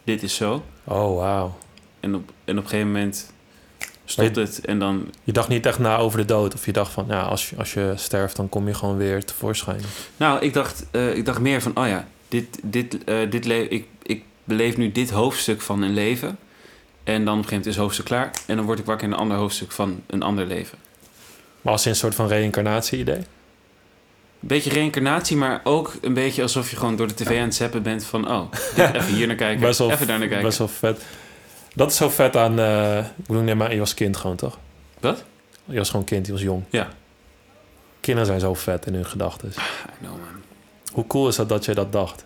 Speaker 3: dit is zo.
Speaker 1: Oh, wauw.
Speaker 3: En op, en op een gegeven moment stopt het en dan,
Speaker 1: Je dacht niet echt na over de dood. Of je dacht van, ja, als je, als je sterft, dan kom je gewoon weer tevoorschijn.
Speaker 3: Nou, ik dacht, eh, ik dacht meer van, oh ja, dit, dit, eh, dit le- ik, ik beleef nu dit hoofdstuk van een leven. En dan op een gegeven moment is hoofdstuk klaar. En dan word ik wakker in een ander hoofdstuk van een ander leven.
Speaker 1: Maar als je een soort van reïncarnatie-idee.
Speaker 3: Een beetje reïncarnatie, maar ook een beetje alsof je gewoon door de tv aan het zappen bent van... oh, dit- even hier naar kijken,
Speaker 1: Best wel,
Speaker 3: even daar naar kijken.
Speaker 1: best wel vet. Dat is zo vet aan... eh, ik bedoel, nee, maar je was kind gewoon, toch?
Speaker 3: Wat?
Speaker 1: Je was gewoon kind, je was jong.
Speaker 3: Ja.
Speaker 1: Kinderen zijn zo vet in hun gedachten.
Speaker 3: I know, Ah, man.
Speaker 1: Hoe cool is dat dat jij dat dacht?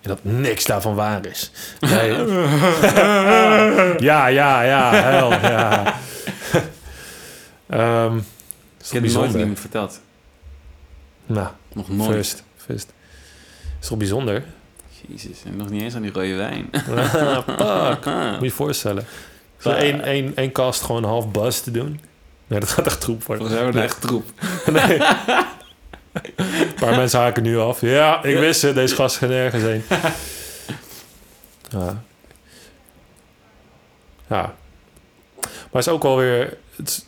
Speaker 1: En dat niks daarvan waar is. Nee. ja, ja, ja, hel, ja. Ehm, is
Speaker 3: Ik
Speaker 1: toch
Speaker 3: heb het nooit
Speaker 1: bijzonder?
Speaker 3: iemand verteld.
Speaker 1: Nou,
Speaker 3: Nog nooit.
Speaker 1: first, first. Is toch bijzonder?
Speaker 3: Jezus, en nog niet eens aan die rode wijn.
Speaker 1: Fuck. Moet je je voorstellen. Zo één, één, één cast gewoon half buzz te doen. Nee, dat gaat echt troep worden.
Speaker 3: Volgens mij wordt het echt troep.
Speaker 1: Nee. Een paar mensen haken nu af. Ja, ik wist het. Deze gast gaat nergens heen. Ja. ja. Maar het is ook wel weer... Het is,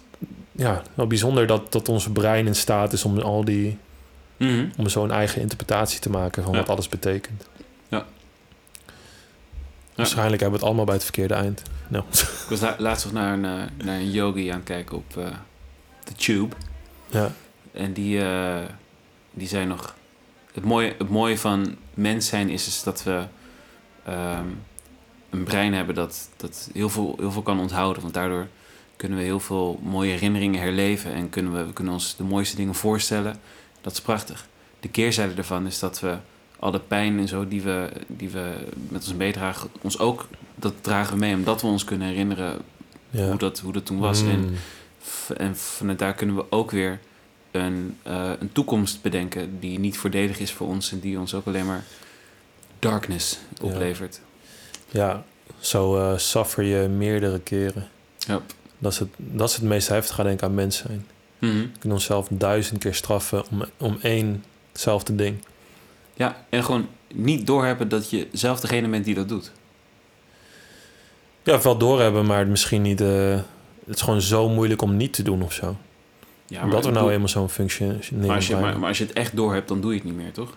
Speaker 1: ja, wel bijzonder dat, dat ons brein in staat is om al die...
Speaker 3: Mhm.
Speaker 1: om zo'n eigen interpretatie te maken van
Speaker 3: Ja.
Speaker 1: wat alles betekent.
Speaker 3: Ja.
Speaker 1: Waarschijnlijk hebben we het allemaal bij het verkeerde eind. Nou.
Speaker 3: Ik was la- laatst nog naar een, eh, naar een yogi aan het kijken op eh, de Tube.
Speaker 1: Ja.
Speaker 3: En die, eh, die zei nog... Het mooie, het mooie van mens zijn is, is dat we ehm, een brein hebben dat, dat heel, veel, heel veel kan onthouden. Want daardoor kunnen we heel veel mooie herinneringen herleven en kunnen we, we kunnen ons de mooiste dingen voorstellen. Dat is prachtig. De keerzijde daarvan is dat we al de pijn en zo die we, die we met ons meedragen, ons ook, dat dragen we mee omdat we ons kunnen herinneren
Speaker 1: Ja.
Speaker 3: hoe, dat, hoe dat toen was. En
Speaker 1: Mm.
Speaker 3: v- En vanuit daar kunnen we ook weer een, eh, een toekomst bedenken die niet voordelig is voor ons en die ons ook alleen maar darkness oplevert.
Speaker 1: Ja, zo eh, suffer je meerdere keren.
Speaker 3: Ja.
Speaker 1: Dat is, het, dat is het meest heftige, denk ik, aan mens zijn.
Speaker 3: Mhm.
Speaker 1: We kunnen onszelf duizend keer straffen om, om één hetzelfde ding.
Speaker 3: Ja, en gewoon niet doorhebben dat je zelf degene bent die dat doet.
Speaker 1: Ja, wel doorhebben, maar het misschien niet... eh, het is gewoon zo moeilijk om niet te doen of zo.
Speaker 3: Ja,
Speaker 1: Omdat we nou eenmaal zo'n functie
Speaker 3: maar
Speaker 1: nemen.
Speaker 3: als, je, maar, maar als je het echt doorhebt, dan doe je het niet meer, toch?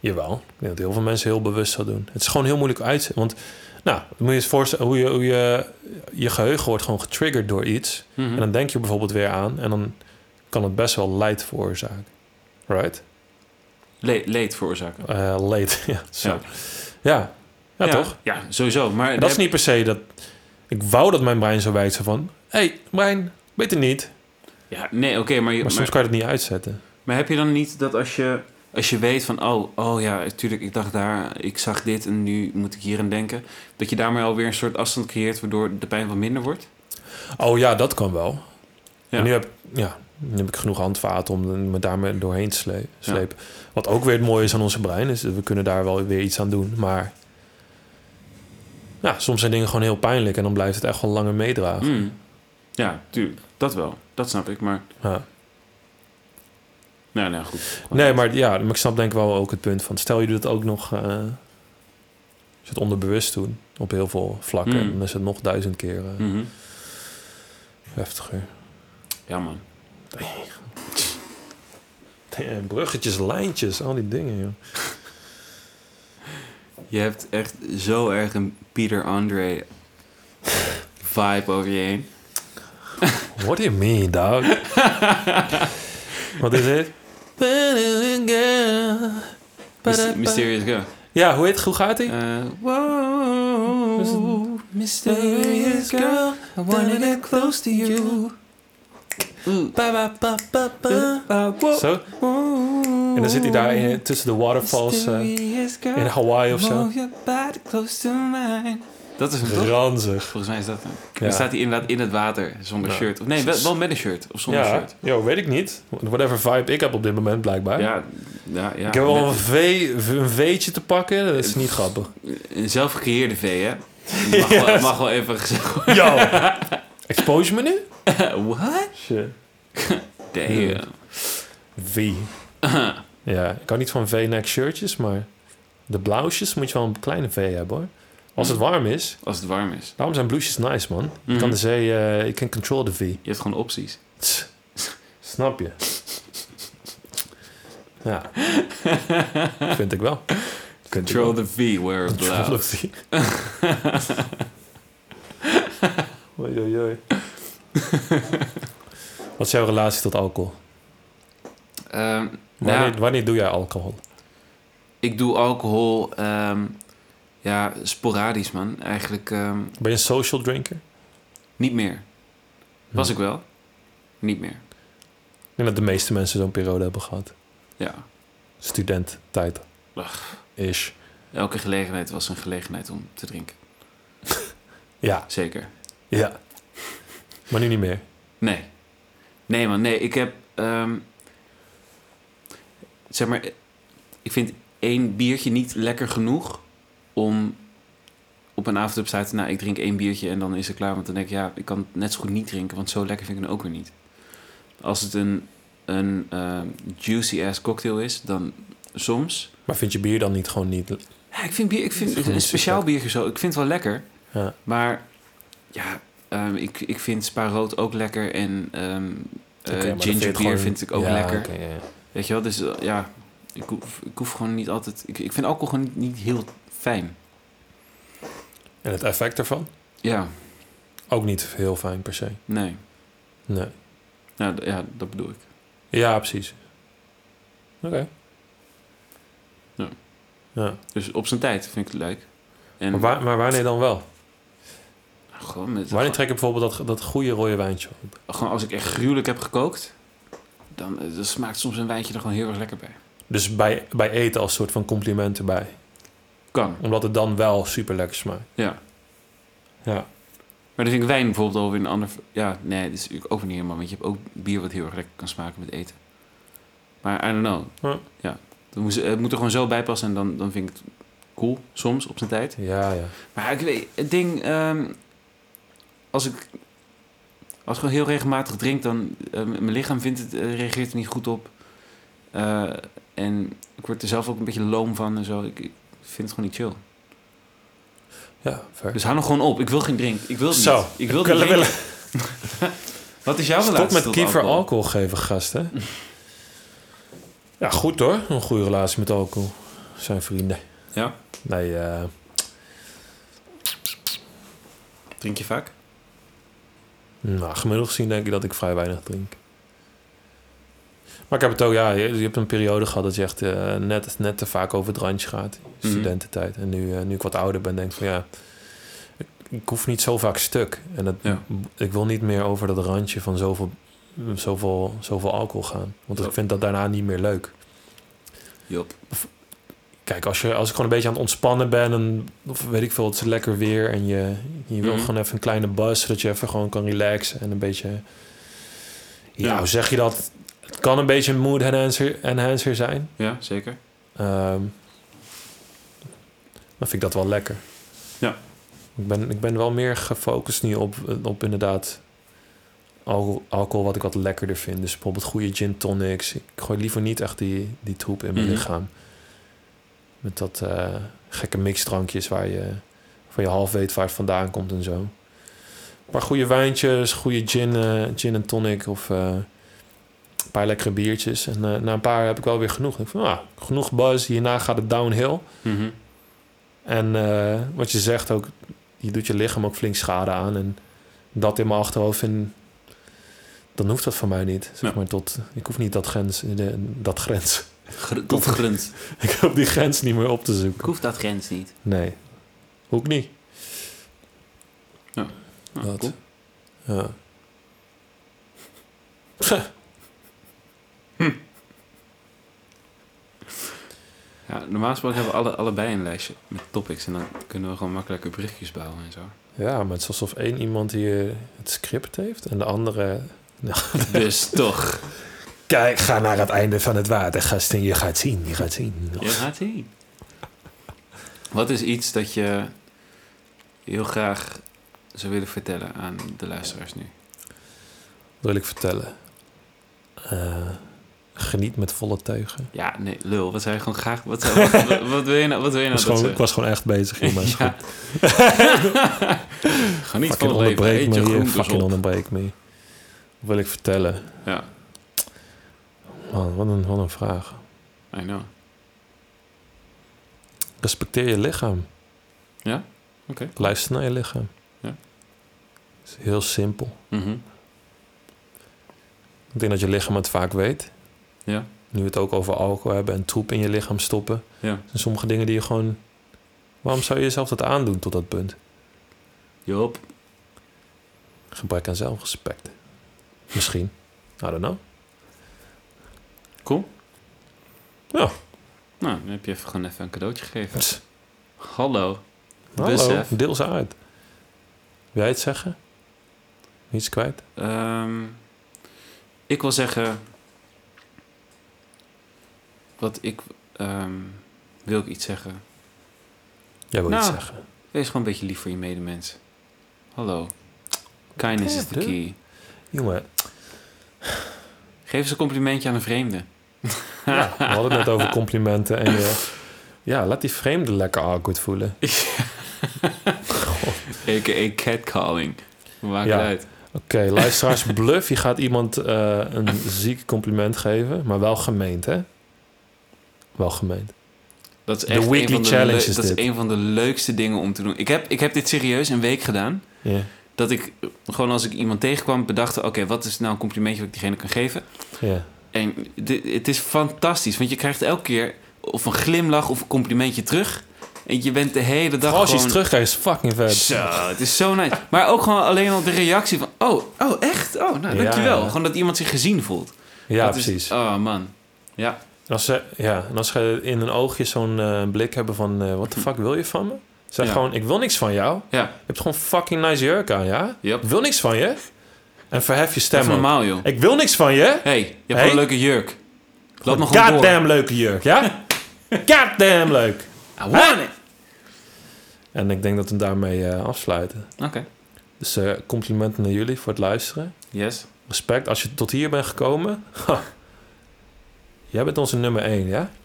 Speaker 1: Jawel. Ik denk dat heel veel mensen heel bewust dat doen. Het is gewoon heel moeilijk uit. Want, nou, moet je je eens voorstellen hoe je, hoe je... Je geheugen wordt gewoon getriggerd door iets.
Speaker 3: Hm. Mhm.
Speaker 1: En dan denk je bijvoorbeeld weer aan en dan kan het best wel leid veroorzaken. Right?
Speaker 3: Le- leed veroorzaken.
Speaker 1: Eh leed, ja. Zo.
Speaker 3: Ja.
Speaker 1: Ja. Ja. toch?
Speaker 3: Ja, sowieso. Maar
Speaker 1: En dat is niet per se dat... Ik wou dat mijn brein zo wijzen van... Hé, hey, brein, beter niet. Maar,
Speaker 3: Ja, nee, oké, maar, je- maar,
Speaker 1: soms kan je dat niet uitzetten.
Speaker 3: maar heb je dan niet dat als je, als je weet van... Oh, oh ja, tuurlijk, ik dacht daar, ik zag dit en nu moet ik hier aan denken. Dat je daarmee alweer een soort afstand creëert waardoor de pijn wat minder wordt?
Speaker 1: Oh ja, dat kan wel.
Speaker 3: Ja.
Speaker 1: En nu heb, ja, nu heb ik genoeg handvaten om me daarmee doorheen te sle- slepen. Wat ook weer het mooie is aan onze brein... is dat we kunnen daar wel weer iets aan doen. Maar ja, soms zijn dingen gewoon heel pijnlijk... en dan blijft het echt wel langer meedragen.
Speaker 3: Mm. Ja, tuurlijk, dat wel. Dat snap ik, maar...
Speaker 1: Ja.
Speaker 3: Nou, nou, goed.
Speaker 1: Nee, maar ja, maar ik snap denk ik wel ook het punt van... stel je doet het ook nog... eh, als je het onderbewust doen op heel veel vlakken...
Speaker 3: Mm.
Speaker 1: dan is het nog duizend keer eh,
Speaker 3: Mhm.
Speaker 1: heftiger.
Speaker 3: Ja, man.
Speaker 1: Damn, eh, bruggetjes, lijntjes, al die dingen, joh.
Speaker 3: Je hebt echt zo erg een Peter Andre vibe over je heen.
Speaker 1: What do you mean, dog? Wat is dit?
Speaker 3: Mys- Mysterious Girl.
Speaker 1: Ja, hoe, heet, hoe gaat hij?
Speaker 3: Eh, wow, mysterious girl, I wanna get close to you. Ooh. Uh, wow,
Speaker 1: Zo. En dan zit hij daar in, tussen de waterfalls eh,
Speaker 3: mysterious girl,
Speaker 1: in Hawaii of zo.
Speaker 3: move your body close to mine. Dat is hem toch?
Speaker 1: Ranzig.
Speaker 3: Volgens mij is dat hem.
Speaker 1: Ja.
Speaker 3: Dan staat hij inderdaad in het water, zonder
Speaker 1: Ja.
Speaker 3: shirt. Of nee, wel, wel met een shirt, of zonder
Speaker 1: ja,
Speaker 3: shirt.
Speaker 1: yo, weet ik niet. Whatever vibe ik heb op dit moment, blijkbaar.
Speaker 3: Ja, ja, ja.
Speaker 1: ik heb wel
Speaker 3: Met-
Speaker 1: een, vee, een veetje te pakken, dat is niet grappig.
Speaker 3: Een zelfgecreëerde vee, hè? Mag, wel, mag wel even gezegd worden.
Speaker 1: Yo! Expose me nu?
Speaker 3: What?
Speaker 1: Shit.
Speaker 3: Damn.
Speaker 1: V. Ja, ik hou niet van V-neck shirtjes, maar de blouses moet je wel een kleine V hebben hoor. Als
Speaker 3: Mm.
Speaker 1: het warm is.
Speaker 3: Als het warm is.
Speaker 1: Daarom zijn blouses nice, man. Je
Speaker 3: Mhm.
Speaker 1: kan de zee, eh je kan control de V.
Speaker 3: Je hebt gewoon opties.
Speaker 1: Tss. Snap je? Ja. Vind ik wel. Vind ik wel.
Speaker 3: Control the V, wear it
Speaker 1: Control
Speaker 3: loud.
Speaker 1: the V. Oei, oei, oei. Wat is jouw relatie tot alcohol?
Speaker 3: Ehm,
Speaker 1: Wanneer,
Speaker 3: nou,
Speaker 1: wanneer doe jij alcohol?
Speaker 3: ik doe alcohol ehm, ja, sporadisch, man. Eigenlijk ehm,
Speaker 1: Ben je een social drinker?
Speaker 3: niet meer. Was
Speaker 1: Hm.
Speaker 3: ik wel? Niet meer.
Speaker 1: Ik denk dat de meeste mensen zo'n periode hebben gehad.
Speaker 3: Ja.
Speaker 1: Studenttijd. Ish.
Speaker 3: Elke gelegenheid was een gelegenheid om te drinken.
Speaker 1: Ja,
Speaker 3: Zeker.
Speaker 1: ja. Maar nu niet meer.
Speaker 3: Nee. Nee, man, nee. Ik heb. ehm, zeg maar, ik vind één biertje niet lekker genoeg om op een avond te besluiten. Nou, ik drink één biertje en dan is het klaar. Want dan denk ik, ja, ik kan het net zo goed niet drinken, want zo lekker vind ik het ook weer niet. Als het een, een juicy ass cocktail is, dan soms.
Speaker 1: Maar vind je bier dan niet gewoon niet...
Speaker 3: Ja, ik vind, bier,
Speaker 1: Het
Speaker 3: ik
Speaker 1: is
Speaker 3: vind
Speaker 1: gewoon
Speaker 3: een
Speaker 1: niet zo
Speaker 3: speciaal biertje zo. Ik vind het wel lekker.
Speaker 1: Ja.
Speaker 3: Maar ja, ehm, ik, ik vind Spa rood ook lekker. En ehm
Speaker 1: Oké,
Speaker 3: eh,
Speaker 1: maar dan vind je
Speaker 3: ginger
Speaker 1: het
Speaker 3: beer
Speaker 1: gewoon-
Speaker 3: vind ik ook
Speaker 1: Ja,
Speaker 3: lekker.
Speaker 1: oké, ja, ja.
Speaker 3: Weet je wel, dus eh, ja, ik hoef, ik hoef gewoon niet altijd... Ik, ik vind alcohol gewoon niet, niet heel fijn.
Speaker 1: En het effect ervan?
Speaker 3: Ja,
Speaker 1: Ook niet heel fijn per se.
Speaker 3: nee.
Speaker 1: Nee.
Speaker 3: Nou, d- ja, dat bedoel ik.
Speaker 1: Ja, precies. Oké.
Speaker 3: Ja.
Speaker 1: Ja.
Speaker 3: Dus op zijn tijd vind ik het leuk. En
Speaker 1: Maar, wa- maar wanneer dan wel?
Speaker 3: gewoon, met,
Speaker 1: Wanneer trek ik bijvoorbeeld dat, dat goede rode wijntje op?
Speaker 3: gewoon als ik echt gruwelijk heb gekookt, dan, eh, dan smaakt soms een wijntje er gewoon heel erg lekker bij.
Speaker 1: Dus bij, bij eten als soort van compliment erbij.
Speaker 3: Kan.
Speaker 1: Omdat het dan wel super lekker smaakt.
Speaker 3: Ja.
Speaker 1: Ja.
Speaker 3: Maar dan vind ik wijn bijvoorbeeld alweer een ander... Ja, nee, dat is natuurlijk ook niet helemaal... Want je hebt ook bier wat heel erg lekker kan smaken met eten. Maar I don't know.
Speaker 1: Ja.
Speaker 3: Dan moet, het moet er gewoon zo bij passen en dan, dan vind ik het cool. Soms, op zijn tijd.
Speaker 1: Ja, ja.
Speaker 3: Maar ik weet, het ding... ehm, als ik... Als ik gewoon heel regelmatig drink, dan... eh, mijn lichaam vindt het, eh, reageert er niet goed op. Eh, en ik word er zelf ook een beetje loom van en zo. Ik, ik vind het gewoon niet chill.
Speaker 1: Ja, ver.
Speaker 3: Dus hou nog gewoon op. Ik wil geen drink. Ik wil het
Speaker 1: Zo,
Speaker 3: niet. Ik wil het
Speaker 1: kunnen
Speaker 3: niet
Speaker 1: we-
Speaker 3: drinken. Wat is jouw relatie
Speaker 1: Stop met
Speaker 3: tot
Speaker 1: kiefer alcohol. geven, gasten. Ja, goed hoor. Een goede relatie met alcohol. Zijn vrienden.
Speaker 3: Ja.
Speaker 1: Nee, eh
Speaker 3: Drink je vaak?
Speaker 1: nou, gemiddeld gezien denk ik dat ik vrij weinig drink. Maar ik heb het ook, ja, je, je hebt een periode gehad dat je echt eh, net, net te vaak over het randje gaat. Studententijd. En nu, eh, nu ik wat ouder ben, denk ik van ja, ik, ik hoef niet zo vaak stuk. En dat,
Speaker 3: Ja.
Speaker 1: ik wil niet meer over dat randje van zoveel, zoveel, zoveel alcohol gaan. Want ik vind dat daarna niet meer leuk.
Speaker 3: Jop.
Speaker 1: Kijk, als, je, als ik gewoon een beetje aan het ontspannen ben en of weet ik veel, het is lekker weer en je, je wil
Speaker 3: Mhm.
Speaker 1: gewoon even een kleine bus, zodat je even gewoon kan relaxen en een beetje. Ja,
Speaker 3: Ja.
Speaker 1: hoe zeg je dat? Het kan een beetje een mood enhancer, enhancer zijn.
Speaker 3: Ja, zeker.
Speaker 1: Ehm, dan vind ik dat wel lekker.
Speaker 3: Ja.
Speaker 1: Ik ben, ik ben wel meer gefocust nu op, op inderdaad alcohol, alcohol wat ik wat lekkerder vind. Dus bijvoorbeeld goede gin tonics. Ik gooi liever niet echt die, die troep in mijn
Speaker 3: Mhm.
Speaker 1: lichaam. Met dat eh, gekke mixdrankjes waar je, waar je half weet waar het vandaan komt en zo. Een paar goede wijntjes, goede gin, eh, gin en tonic of... eh, een paar lekkere biertjes. En eh, na een paar heb ik wel weer genoeg. Ik van, ah, genoeg buzz. Hierna gaat het downhill. En eh, wat je zegt ook, je doet je lichaam ook flink schade aan. En dat in mijn achterhoofd, en dan hoeft dat van mij niet. Zeg
Speaker 3: Ja.
Speaker 1: maar tot, ik hoef niet dat grens, de- dat grens.
Speaker 3: Gr- tot grens.
Speaker 1: ik hoef die grens niet meer op te
Speaker 3: Ik
Speaker 1: zoeken.
Speaker 3: hoef dat grens niet.
Speaker 1: Nee, ook niet.
Speaker 3: Nou,
Speaker 1: Dat.
Speaker 3: cool.
Speaker 1: Ja.
Speaker 3: Ja, normaal gesproken hebben we alle, allebei een lijstje met topics. En dan kunnen we gewoon makkelijker berichtjes bouwen en zo.
Speaker 1: ja, maar het is alsof één iemand hier het script heeft en de andere
Speaker 3: Dus toch.
Speaker 1: Kijk, ga naar het einde van het water, gast, en je gaat zien, je gaat zien.
Speaker 3: Je gaat heen. Wat is iets dat je heel graag zou willen vertellen aan de luisteraars nu?
Speaker 1: Wil ik vertellen. Eh, geniet met volle teugen.
Speaker 3: Ja, nee, lul. Wat zou je gewoon graag... Wat, zou- wat, wat- wat wil je nou, wat wil je
Speaker 1: Ik was,
Speaker 3: nou dat
Speaker 1: gewoon, ik
Speaker 3: zeggen?
Speaker 1: was gewoon echt bezig hier, maar is goed.
Speaker 3: Ga
Speaker 1: Fucking
Speaker 3: niet van het leven.
Speaker 1: onderbreek
Speaker 3: Eet
Speaker 1: me
Speaker 3: je
Speaker 1: hier,
Speaker 3: groentes
Speaker 1: fucking
Speaker 3: op.
Speaker 1: onderbreek me. Wat wil ik vertellen?
Speaker 3: Ja,
Speaker 1: Man, wat een, wat een vraag.
Speaker 3: I know.
Speaker 1: Respecteer je lichaam.
Speaker 3: Ja? Oké.
Speaker 1: Luister naar je lichaam.
Speaker 3: Ja.
Speaker 1: is heel simpel.
Speaker 3: Mhm.
Speaker 1: Ik denk dat je lichaam het vaak weet.
Speaker 3: Ja.
Speaker 1: Nu we het ook over alcohol hebben en troep in je lichaam stoppen.
Speaker 3: Ja.
Speaker 1: Er zijn sommige dingen die je gewoon... Waarom zou je jezelf dat aandoen tot dat punt?
Speaker 3: Joop.
Speaker 1: Gebrek aan zelfrespect. Misschien. I don't know.
Speaker 3: Cool.
Speaker 1: Ja.
Speaker 3: Nou, dan heb je even gewoon even een cadeautje gegeven.
Speaker 1: Pst.
Speaker 3: Hallo.
Speaker 1: Hallo,
Speaker 3: Besef.
Speaker 1: deel ze uit. Wil jij het zeggen? Iets kwijt?
Speaker 3: Ehm, ik wil zeggen... Wat ik... ehm, wil ik iets zeggen?
Speaker 1: Jij wil
Speaker 3: Nou.
Speaker 1: iets zeggen.
Speaker 3: Wees gewoon een beetje lief voor je medemens. Hallo. Kindness is de
Speaker 1: Ja,
Speaker 3: key.
Speaker 1: Jongen,
Speaker 3: Geef eens een complimentje aan een vreemde.
Speaker 1: ja, we hadden het net over complimenten. En je, ja, laat die vreemde lekker awkward voelen.
Speaker 3: A.k.a. catcalling. Maakt
Speaker 1: Ja.
Speaker 3: het uit.
Speaker 1: Oké, luisteraars, bluff. Je gaat iemand eh, een ziek compliment geven, maar wel gemeend, hè? Wel gemeend.
Speaker 3: Dat is
Speaker 1: De
Speaker 3: echt
Speaker 1: weekly
Speaker 3: een van de
Speaker 1: challenge
Speaker 3: leu-
Speaker 1: is
Speaker 3: Dat
Speaker 1: dit.
Speaker 3: is een van de leukste dingen om te doen. Ik heb, ik heb dit serieus een week gedaan.
Speaker 1: Ja,
Speaker 3: Dat ik eh, gewoon als ik iemand tegenkwam bedacht... oké, wat is nou een complimentje dat ik diegene kan geven?
Speaker 1: ja.
Speaker 3: En di- het is fantastisch. Want je krijgt elke keer of een glimlach of een complimentje terug. En En je bent de hele dag
Speaker 1: Als je eens
Speaker 3: gewoon...
Speaker 1: terugkijkt, is fucking vet.
Speaker 3: Zo, het is zo nice. Maar ook gewoon alleen al de reactie van... Oh, oh echt? Oh, nou,
Speaker 1: Ja,
Speaker 3: dankjewel.
Speaker 1: ja.
Speaker 3: Gewoon dat iemand zich gezien voelt.
Speaker 1: Ja,
Speaker 3: Dat is-
Speaker 1: precies.
Speaker 3: oh, man. Ja.
Speaker 1: En Als ze, ja, en als ze in hun oogje zo'n eh, blik hebben van... wat What the fuck wil je van me? Zeg
Speaker 3: Ja.
Speaker 1: gewoon, ik wil niks van jou.
Speaker 3: Ja.
Speaker 1: Je hebt gewoon fucking nice jurk aan, ja?
Speaker 3: Yep.
Speaker 1: Ik wil niks van je. En verhef je
Speaker 3: Dat
Speaker 1: stem
Speaker 3: is
Speaker 1: ook.
Speaker 3: normaal, joh.
Speaker 1: Ik wil niks van je.
Speaker 3: hey, je hebt
Speaker 1: Hey.
Speaker 3: wel een leuke jurk. Laat me gewoon door.
Speaker 1: Goddamn leuke jurk, ja? Goddamn leuk.
Speaker 3: I want it.
Speaker 1: En ik denk dat we hem daarmee eh, afsluiten.
Speaker 3: Oké.
Speaker 1: Dus eh, complimenten naar jullie voor het luisteren.
Speaker 3: Yes.
Speaker 1: Respect. Als je tot hier bent gekomen... ha, jij bent onze nummer 1, ja?
Speaker 3: Ah.